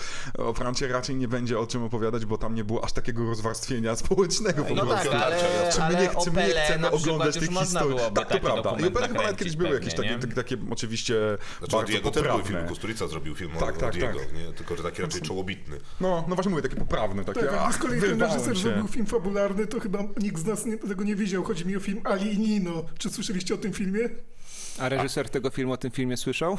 o Francie raczej nie będzie o czym opowiadać, bo tam nie było aż takiego rozwarstwienia społecznego po No prostu. tak, ale, Czy my, nie, ale czy o my nie Pele chcemy na oglądać przykład tych już można historii? byłoby Tak, to taki prawda. I o dokument Pele chyba nawet kiedyś nakręcić były jakieś pewnie, takie, nie? tak- takie oczywiście Znaczy, bardzo Diego też był film, poprawne. Kusturica zrobił film Tak, o, tak, o Diego, tak. nie? tylko że taki raczej Znaczy- czołobitny. No, no właśnie mówię, takie poprawne, takie Tak, jakby ach, z kolei ten wyrwałem reżyser się. zrobił film fabularny, to chyba nikt z nas nie, tego nie wiedział. Chodzi mi o film Ali i Nino. Czy słyszeliście o tym filmie? A reżyser tego filmu o tym filmie słyszał?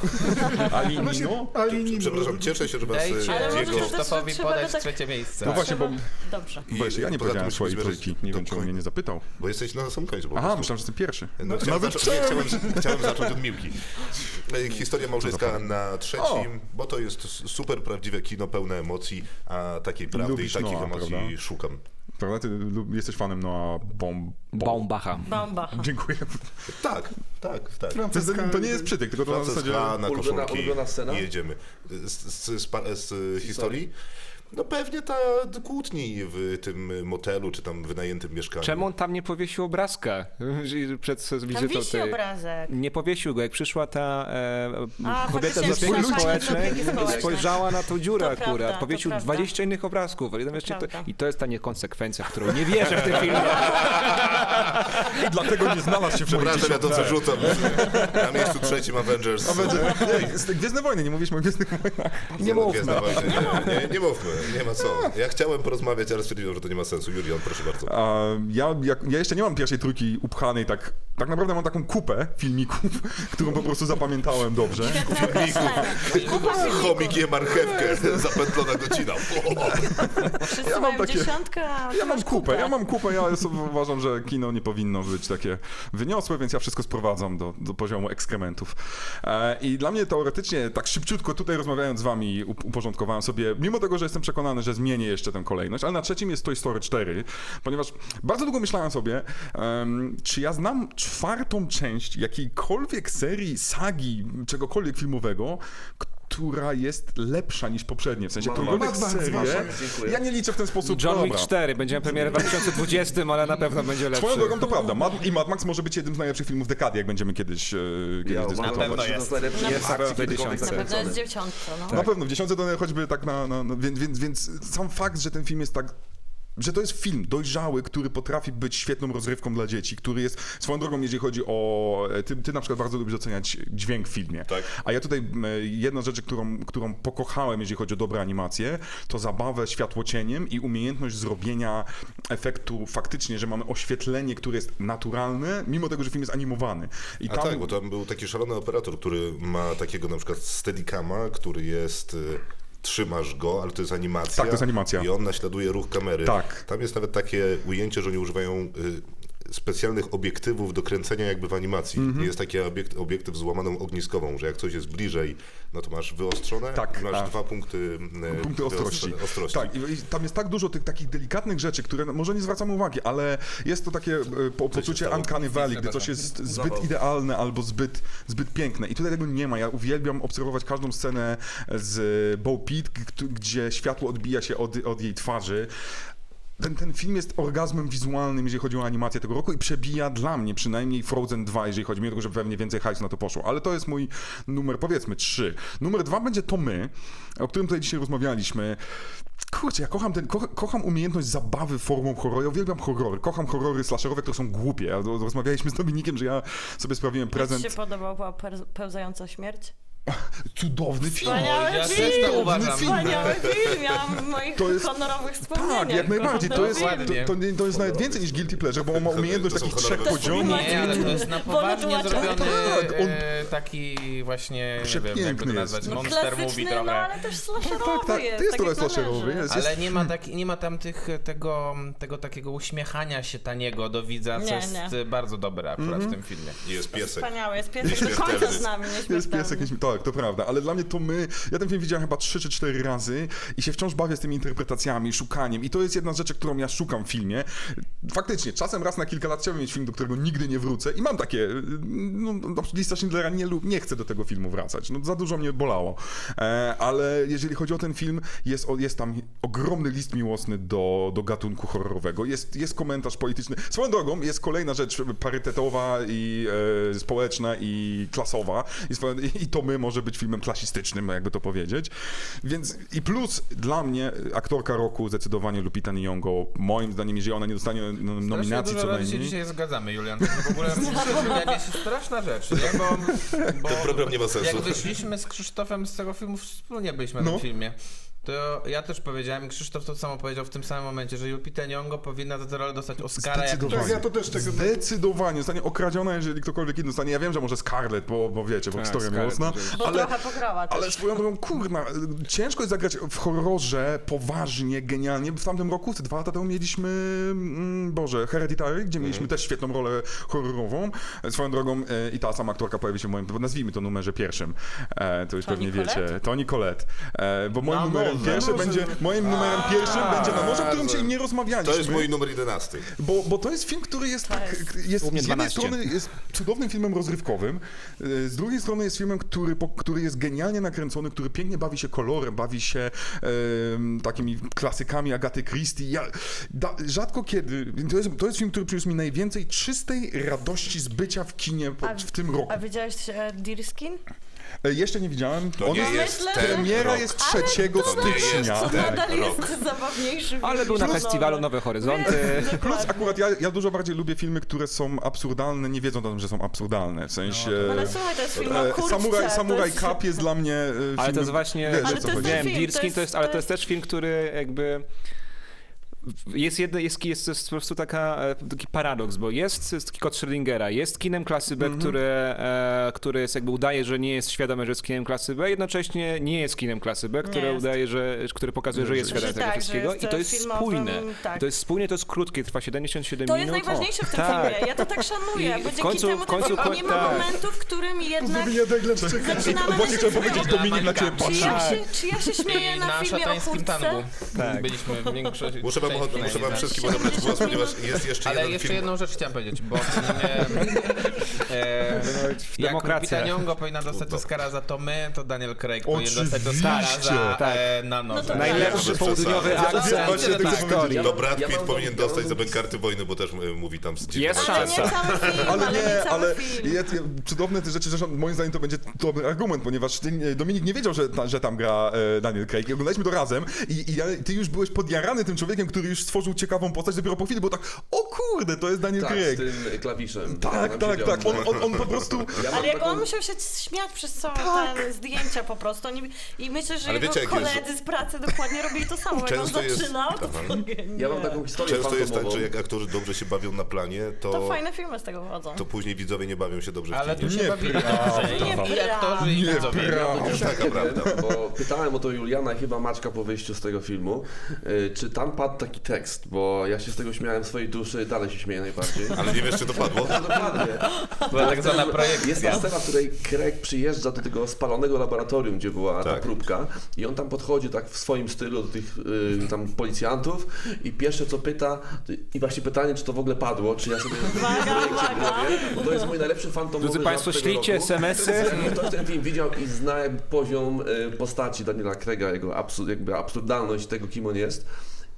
Ali Właśnie Nino? Ali i Nino. Przepraszam, cieszę się, że was e, Dajcie Ale może Diego... też to Krzysztofowi trzeba tak- podać dodać- trzecie miejsce. No właśnie, bo Dobrze. I Weź, ja nie poza tym powiedziałem musimy swojej zmierzać trójki, nie do wiem czemu końca. mnie nie zapytał. Bo jesteś na samym końcu po Aha, prostu. myślałem, że ty pierwszy. No, chciałem, nawet zacząć, nie, chciałem, chciałem zacząć od Miłki. E, Historia małżeńska na trzecim, bo to jest s- super prawdziwe kino, pełne emocji, a takiej prawdy Lubisz i takich Noa, emocji prawda? szukam. Prawda? Ty lu- jesteś fanem Noa Bomb... Baumbacha. Bomba. Dziękuję. Tak, tak, tak. To, jest- to nie jest przytyk, tylko to na zasadzie... Franceska na Ulubiona- koszulki ulubiona scena? i jedziemy. Z, z, z, pa- z historii? No pewnie ta kłótni w tym motelu, czy tam wynajętym mieszkaniu. Czemu on tam nie powiesił obrazka że- przed Tam wizytą wisi tej... obrazek. Nie powiesił go, jak przyszła ta e, A, kobieta faktycznie, ze jak spółki przyszła pani z społecznej, opieki społecznej. spojrzała na tą dziurę To akurat, prawda, to powiesił prawda. 20 innych obrazków. ale wiesz, to, prawda. I to jest ta niekonsekwencja, w którą nie wierzę w tym filmie. I dlatego nie znalazł się w mojej Przepraszam, ja to dziesiątce. co rzucam. Na miejscu trzecim Avengers. A będzie- nie, z- Gwiezdne Wojny, nie mówiliśmy o Gwiezdnych Wojnach. Nie mówmy. Nie, nie, nie mówmy, nie ma co. Ja chciałem porozmawiać, ale stwierdziłem, że to nie ma sensu. Julian, proszę bardzo. A, ja, jak- ja jeszcze nie mam pierwszej trójki upchanej tak... Tak naprawdę mam taką kupę filmików, którą po prostu zapamiętałem dobrze. tak. No Kupa filmików. Chomik je marchewkę, zapętlona godzina. Wszyscy Ja mam mają takie- dziesiątkę, a ty Ja mam masz kupę, ja mam kupę, ja sobie uważam, że kino nie powinno być takie wyniosłe, więc ja wszystko sprowadzam do, do poziomu ekskrementów. E, I dla mnie teoretycznie, tak szybciutko tutaj rozmawiając z wami, up- uporządkowałem sobie, mimo tego, że jestem przekonany, że zmienię jeszcze tę kolejność, ale na trzecim jest Toy Story 4, ponieważ bardzo długo myślałem sobie, em, czy ja znam czwartą część jakiejkolwiek serii, sagi, czegokolwiek filmowego, która jest lepsza niż poprzednie, w sensie Mad którąkolwiek No, Max, Mad Max, serię. Max, dziękuję. Ja nie liczę w ten sposób. John Wick dobra. 4, będziemy premierę w 2020, ale na pewno będzie lepszy. Swoją drogą to prawda. Mad, I Mad Max może być jednym z najlepszych filmów dekady, jak będziemy kiedyś, e, kiedyś Ja uważam, dyskutować. że No to pewno jest najlepszy Jest, akcji pewno filmowy jest. Na pewno nakręcony. jest dziewiątce, no. Na pewno, w dziesiątce to choćby tak na... na, na więc, więc, więc sam fakt, że ten film jest tak że to jest film dojrzały, który potrafi być świetną rozrywką dla dzieci, który jest swoją drogą, jeżeli chodzi o... e, Ty, ty na przykład bardzo lubisz oceniać dźwięk w filmie. Tak. A ja tutaj m, jedna rzecz, którą, którą pokochałem, jeżeli chodzi o dobre animacje, to zabawę światłocieniem i umiejętność zrobienia efektu faktycznie, że mamy oświetlenie, które jest naturalne, mimo tego, że film jest animowany. I A tak, bo tam był taki szalony operator, który ma takiego na przykład Steadicama, który jest... y, Trzymasz go, ale to jest animacja. Tak, to jest animacja. I on naśladuje ruch kamery. Tak. Tam jest nawet takie ujęcie, że oni używają y, specjalnych obiektywów do kręcenia jakby w animacji. Mhm. Jest taki obiekt, obiektyw z łamaną ogniskową, że jak coś jest bliżej, no to masz wyostrzone Tak, i masz tak. dwa punkty, y, punkty ostrości. wyostrzone- ostrości. Tak, i i tam jest tak dużo tych takich delikatnych rzeczy, które no, może nie zwracamy uwagi, ale jest to takie e, po, poczucie stało? uncanny valley, gdy coś jest zbyt idealne albo zbyt, zbyt piękne. I tutaj tego nie ma. Ja uwielbiam obserwować każdą scenę z Bo Peep, g- gdzie światło odbija się od, od jej twarzy. ten, ten film jest orgazmem wizualnym, jeżeli chodzi o animację tego roku i przebija dla mnie przynajmniej Frozen 2, jeżeli chodzi mi o to, że pewnie więcej hajsu na to poszło. Ale to jest mój numer, powiedzmy, 3. Numer 2 będzie to my, o którym tutaj dzisiaj rozmawialiśmy. Kurczę, ja kocham, ten, ko kocham umiejętność zabawy formą horroru. Ja uwielbiam horrory. Kocham horrory slasherowe, które są głupie. Ja, roz- rozmawialiśmy z Dominikiem, że ja sobie sprawiłem Prezent. prezent. Znaczy, Ci się podobał była per- pełzająca śmierć? Cudowny film! Wspaniały ja też film! tak uważam. Wspaniały film, ja w moich To jest- honorowych wspomnieniach. Tak, jak najbardziej. To kocham jest, ten to, no, Dokładnie. to, nie- to jest nawet więcej niż Guilty Pleasure, bo on ma To- to umiejętność są takich honorowe trzech wspomnienia. poziomów. Nie, ale to jest na Wolę poważnie tłumaczyć. zrobiony Tak, on- e, taki właśnie, nie wiem jak Przepiękny go jest. nazwać, No, monster klasyczny, movie No trochę. ale też slasherowy tak, tak, to jest. jest trochę jak należy. slasherowy, jest. Hmm. Ale nie ma, tak, nie ma tam tych, tego, tego takiego uśmiechania się taniego do widza, Nie, co jest nie. e, bardzo dobre akurat Mhm. w tym filmie. Jest piesek. Wspaniały, jest piesek do Nieśmiertelny. końca z nami, Jest nieśmiertelny. piesek, nieśmiertelny. tak, to prawda, ale dla mnie to my, ja ten film widziałem chyba 3 czy 4 razy i się wciąż bawię z tymi interpretacjami, szukaniem i to jest jedna z rzeczy, którą ja szukam w filmie. Faktycznie, czasem raz na kilka lat chciałbym mieć film, do którego nigdy nie wrócę i mam takie, no, no lista Schindlera nie, lub, nie chcę do tego filmu wracać, no za dużo mnie bolało, e, ale jeżeli chodzi o ten film, jest, o- jest tam ogromny list miłosny do, do gatunku horrorowego, jest, jest komentarz polityczny. Swoją drogą jest kolejna rzecz parytetowa i e, społeczna i klasowa I, swoją- i to my może być filmem klasistycznym, jakby to powiedzieć. Więc i plus dla mnie aktorka roku zdecydowanie Lupita Nyong'o, moim zdaniem, jeżeli ona nie dostanie no- Strasznie nominacji dużo co razy się najmniej. dzisiaj zgadzamy, Julian. To w ogóle jakieś straszna rzecz, nie? Bo, bo Ten program nie ma sensu. Jak wyszliśmy z Krzysztofem z tego filmu, wspólnie byliśmy na No. tym filmie. To ja też powiedziałem, i Krzysztof to samo powiedział w tym samym momencie, że Lupita Nyong'o powinna za tę rolę dostać Oscara. jak- Zdecydowanie. Tak, ja to też tak Zdecydowanie zostanie okradziona, jeżeli ktokolwiek inny zostanie. Ja wiem, że może Scarlett, bo, bo wiecie, bo Tak, historia Scarlett miłosna, może Bo ale No trochę pograła też. Ale swoją drogą, kurna, y, ciężko jest zagrać w horrorze poważnie, genialnie. W tamtym roku, te dwa lata temu mieliśmy, mm, Boże, Hereditary, gdzie mieliśmy też świetną rolę horrorową. E, Swoją drogą y, i ta sama aktorka pojawi się w moim, nazwijmy to numerze pierwszym, e, to już Toni pewnie Collette? wiecie, Toni Colette. E, bo moim Na numerem morze. pierwszym będzie, moim numerem pierwszym będzie na morzu, o którym dzisiaj nie rozmawialiśmy. To jest mój numer 11. Bo, bo to jest film, który jest tak. Jest, U mnie z jednej 12. strony jest cudownym filmem rozrywkowym, y, z drugiej strony jest filmem, który, po- który jest genialnie nakręcony, który pięknie bawi się kolorem, bawi się em, takimi klasykami Agaty Christie. Ja, da, rzadko kiedy. To jest, to jest film, który przyniósł mi najwięcej czystej radości z bycia w kinie po, A- w tym roku. A widziałeś e, Deerskin? E, Jeszcze nie widziałem. To nie Ona- jest myślę, ten Premiera rok. jest Ale 3 to nie jest stycznia. To ten nadal rok. jest zabawniejszy Ale był na film. festiwalu Nowe Horyzonty. Jest, Plus dokładnie. akurat ja, ja dużo bardziej lubię filmy, które są absurdalne, nie wiedząc o tym, że są absurdalne. W sensie. Ale słuchaj, No, to jest film E, o kurczce. Samuraj, Samuraj to jest- Cup jest dla mnie e, filmem... Ale to jest właśnie. Wiesz, Ale o co to jest chodzi. ten Wiem, film, to Birskin jest- to jest, ale to jest też film, który jakby. w- Jest, jedno, jest, jest, jest po prostu taka, e, taki paradoks, bo jest, jest taki kod Schrödingera, jest kinem klasy B, które, e, które jest jakby udaje, że nie jest świadome, że jest kinem klasy B, jednocześnie nie jest kinem klasy B, które jest. udaje, że, które pokazuje, że jest Że świadome tego tak, że wszystkiego jest, i to e, jest filmowym- spójne. tak. To jest spójne, to jest krótkie, trwa 77 To jest minut. najważniejsze w tym tak. filmie. Ja to tak szanuję, I w bo dzięki końcu- temu w końcu ten ko- film nie ma tak. momentu, w którym jednak Pozdrowienia Deglemczyka. tak? zaczynamy Właśnie się chciałem powiedzieć, śmiać. Dominik na ciebie Tak. Czy Czy patrzy. ja się, czy ja się śmieję I na, na filmie o szatańskim tangu. kurtce? Tak. Byliśmy w większości. Muszę wam, części muszę wam najbardziej. wszystkim odebrać głos, ponieważ jest jeszcze Ale jeden jeszcze film. jedną rzecz chciałem powiedzieć, bo e, e, jak demokracja. Lupita Nyong'o powinna dostać Oscara za to my, to Daniel Craig powinien dostać Oczywiście, Oscara za tak. e, na noże. No to- Najlepszy Bez południowy przesady. akcent Właśnie w tak. historii. To Brad Ja mam Pitt dom- powinien ja mam dostać za dom- bękarty wojny, bo też y, mówi tam z dziwną Jest akcentem. Ale nie Szansa. cały film, Ale nie, ale cały film. jest, jest, cudowne te rzeczy, zresztą moim zdaniem to będzie dobry argument, ponieważ ty, e, Dominik nie wiedział, że, ta, że tam gra e, Daniel Craig. I Oglądaliśmy to razem i, i ja, ty już byłeś podjarany tym człowiekiem, który już stworzył ciekawą postać dopiero po chwili, bo tak, o kurde, to jest Daniel Tak, z Craig. tym klawiszem. Tak, tak, tak. On, on, on po prostu... Ja mam Ale jak taką- on musiał się śmiać przez całe te zdjęcia po prostu. Oni, I myślę, że Tak. Ale jego wiecie, jak jest- koledzy z pracy dokładnie robili to samo. Jak on Często jest- zaczynał, to Aha. było genialne. Ja mam taką historię Często jest tak, fantomową. że jak aktorzy dobrze się bawią na planie, To to, fajne filmy z tego wychodzą. to później widzowie nie bawią się dobrze w Ale kinie. tu się Nie, bawili prawda. dobrze. I aktorzy, i Nie, widzowie. prawda. Już Taka nie prawda. wiem, Bo tak, pytałem o to Juliana i chyba Maćka po wyjściu z tego filmu, y, czy tam padł taki tekst, bo ja się z tego śmiałem w swojej duszy, dalej się śmieję najbardziej. No, Ale nie wiesz, czy to padło? Dokładnie. Była tak zwana projekcja. Jest ta scena, w której Craig przyjeżdża do tego spalonego laboratorium, gdzie była ta Tak. próbka i on tam podchodzi tak w swoim stylu do tych y, tam policjantów i pierwsze co pyta, y, i właśnie pytanie, czy to w ogóle padło, czy ja sobie... Uwaga, uwaga. To jest mój najlepszy fantomowy Drodzy żart Państwo, tego ślijcie roku. SMS-y. Ktoś ten film widział i zna poziom y, postaci Daniela Craiga, jego absu- jakby absurdalność tego, kim on jest.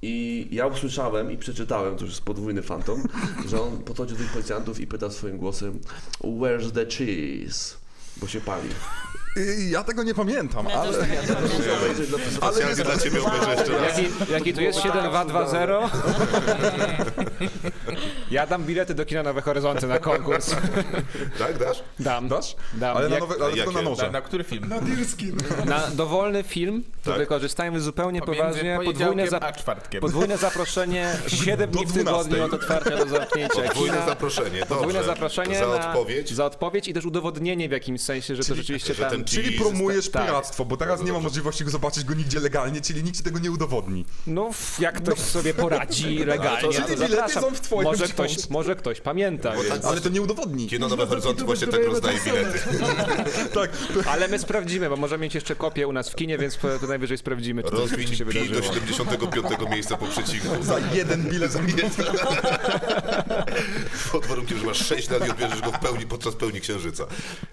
I ja usłyszałem i przeczytałem, to już jest podwójny fantom, że on podchodzi do tych policjantów i pyta swoim głosem Where's the cheese? Bo się pali. Y, Ja tego nie pamiętam, Ja też ale... tego nie Muszę pamiętam. obejrzeć dla posłuchania. Ale Specjalnie jest... dla ciebie obejrzę jeszcze raz. Jaki, jaki tu jest 7220? Ja dam bilety do kina Nowe Horyzonty na konkurs. Tak, dasz? Dam. Dasz? Dam. Ale, na Jak- nowe, ale tylko na jakie? Na, noże. na który film? Na Dirskin. Na dowolny film, to Tak. wykorzystajmy zupełnie poważnie. Podwójne, poniedziałkiem za, a czwartkiem. podwójne zaproszenie 7 dni w tygodniu no 12. od otwarcia do zamknięcia Podwójne kina. zaproszenie, dobrze. Podwójne zaproszenie Za na- odpowiedź. za odpowiedź i też udowodnienie w jakimś sensie, że to rzeczywiście że tam... ten- Czyli I promujesz tak. piractwo, bo teraz nie ma możliwości go zobaczyć go nigdzie legalnie, czyli nikt ci tego nie udowodni. No, f- jak ktoś sobie poradzi legalnie, czyli to bilety zapraszam. są w twoim Może domu. ktoś, może ktoś pamięta, więc. Ale to nie udowodni. Kino Nowe Horyzonty właśnie tak rozdaje bilety. Tak, Ale my sprawdzimy, bo możemy mieć jeszcze kopię u nas w kinie, więc po- to najwyżej sprawdzimy, czy to rzeczywiście Rozwiń się pi wydarzyło. do 75 miejsca po przecinku. za jeden bilet za bilet. Pod warunkiem, że masz 6 lat i odbierzesz go w pełni podczas pełni księżyca.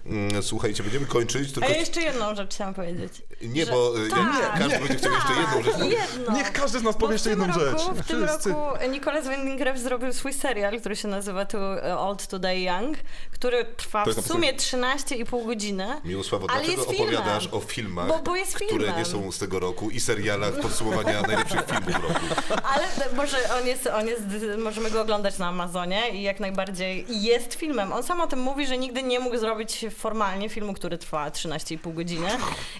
Mm, Słuchajcie, będziemy kończyć, tylko... A ja jeszcze jedną rzecz chciałam powiedzieć. Nie, bo y, E, Tak. każdy będzie chciał jeszcze jedną rzecz powiedzieć. Jedno. Niech każdy z nas Bo powie w jeszcze tym jedną roku, rzecz. W tym Wszyscy. roku e, Nicolas Winding Refn zrobił swój serial, który się nazywa tu e, Old Today Young, który trwa To jest w sumie 13,5 godziny. Miłosławo, Ale dlaczego jest filmem. opowiadasz o filmach, Bo- bo jest które filmem. nie są z tego roku i serialach podsumowania najlepszych filmów roku? Ale może on jest, on jest, możemy go oglądać na Amazonie i jak najbardziej jest filmem. On sam o tym mówi, że nigdy nie mógł zrobić formalnie filmu, który trwa 13,5 godziny.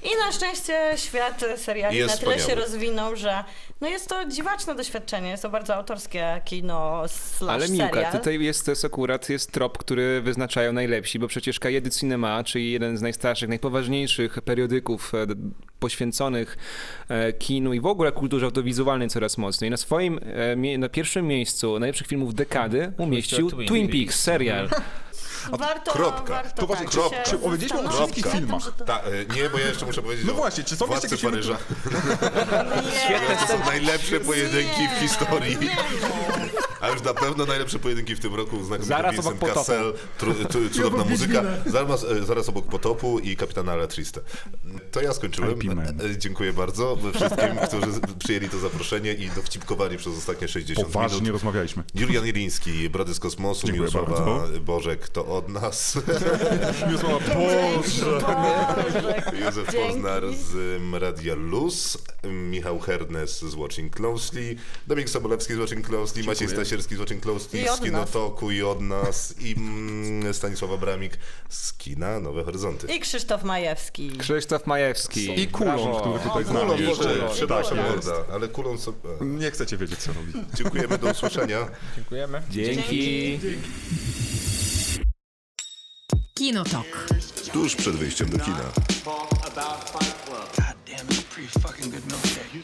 I na szczęście świat seriali Jest na tyle się wspaniały. rozwinął, że no jest to dziwaczne doświadczenie. Jest to bardzo autorskie kino slash Ale Miłka, serial. tutaj jest, to jest akurat jest trop, który wyznaczają najlepsi, bo przecież Kajedy Cinema, czyli jeden z najstarszych, najpoważniejszych periodyków e, d- poświęconych e, kinu i w ogóle kulturze audiowizualnej coraz mocniej, na swoim, e, mie- na pierwszym miejscu najlepszych filmów dekady umieścił Twin Twin Peaks. Peaks, serial. Warto, Kropka. warto To właśnie tak kropka. się Czy powiedzieliśmy o zastanowić. Tak, wszystkich filmach? Ta, y, nie, bo ja jeszcze muszę powiedzieć No o właśnie, czy są jeszcze Władcy jakieś filmy, Paryża. tak. Nie. To Tak. są najlepsze pojedynki w Nie. historii. Nie. A już na pewno najlepsze pojedynki w tym roku Zaraz znakomity Vincent obok potopu. Cassel, tru, tu- cudowna obok muzyka, Wiedźmina. zaraz, e, zaraz obok Potopu i Kapitana Latriste. To ja skończyłem. IP Man. E, Dziękuję bardzo wszystkim, którzy z- przyjęli to zaproszenie i dowcipkowali przez ostatnie 60 Poważnie minut. rozmawialiśmy. Julian Iliński, Brody z Kosmosu, Dziękuję Mirosława bardzo. Bożek, to od nas. Miłosława, Boże! Boże. Józef Dzięki. Poznar z um, Radia Luz, Michał Hernes z Watching Closely, Dominik Sobolewski z Watching Closely, Maciej Stasierski z Watching I Closely, od z Kinotoku i od nas, i mm, Stanisława Bramik z Kina Nowe Horyzonty. I Krzysztof Majewski. Krzysztof Majewski. I kulon, Brawo. który tutaj z Kulon, nami Boże, jeszcze. Tak, przepraszam, jest. morda, ale kulon sobie... Nie chcecie wiedzieć, co robi. Dziękujemy, do usłyszenia. Dziękujemy. Dzięki. Kinotok. Tuż przed wyjściem do kina. Goddamn, it's a pretty fucking good milkshake.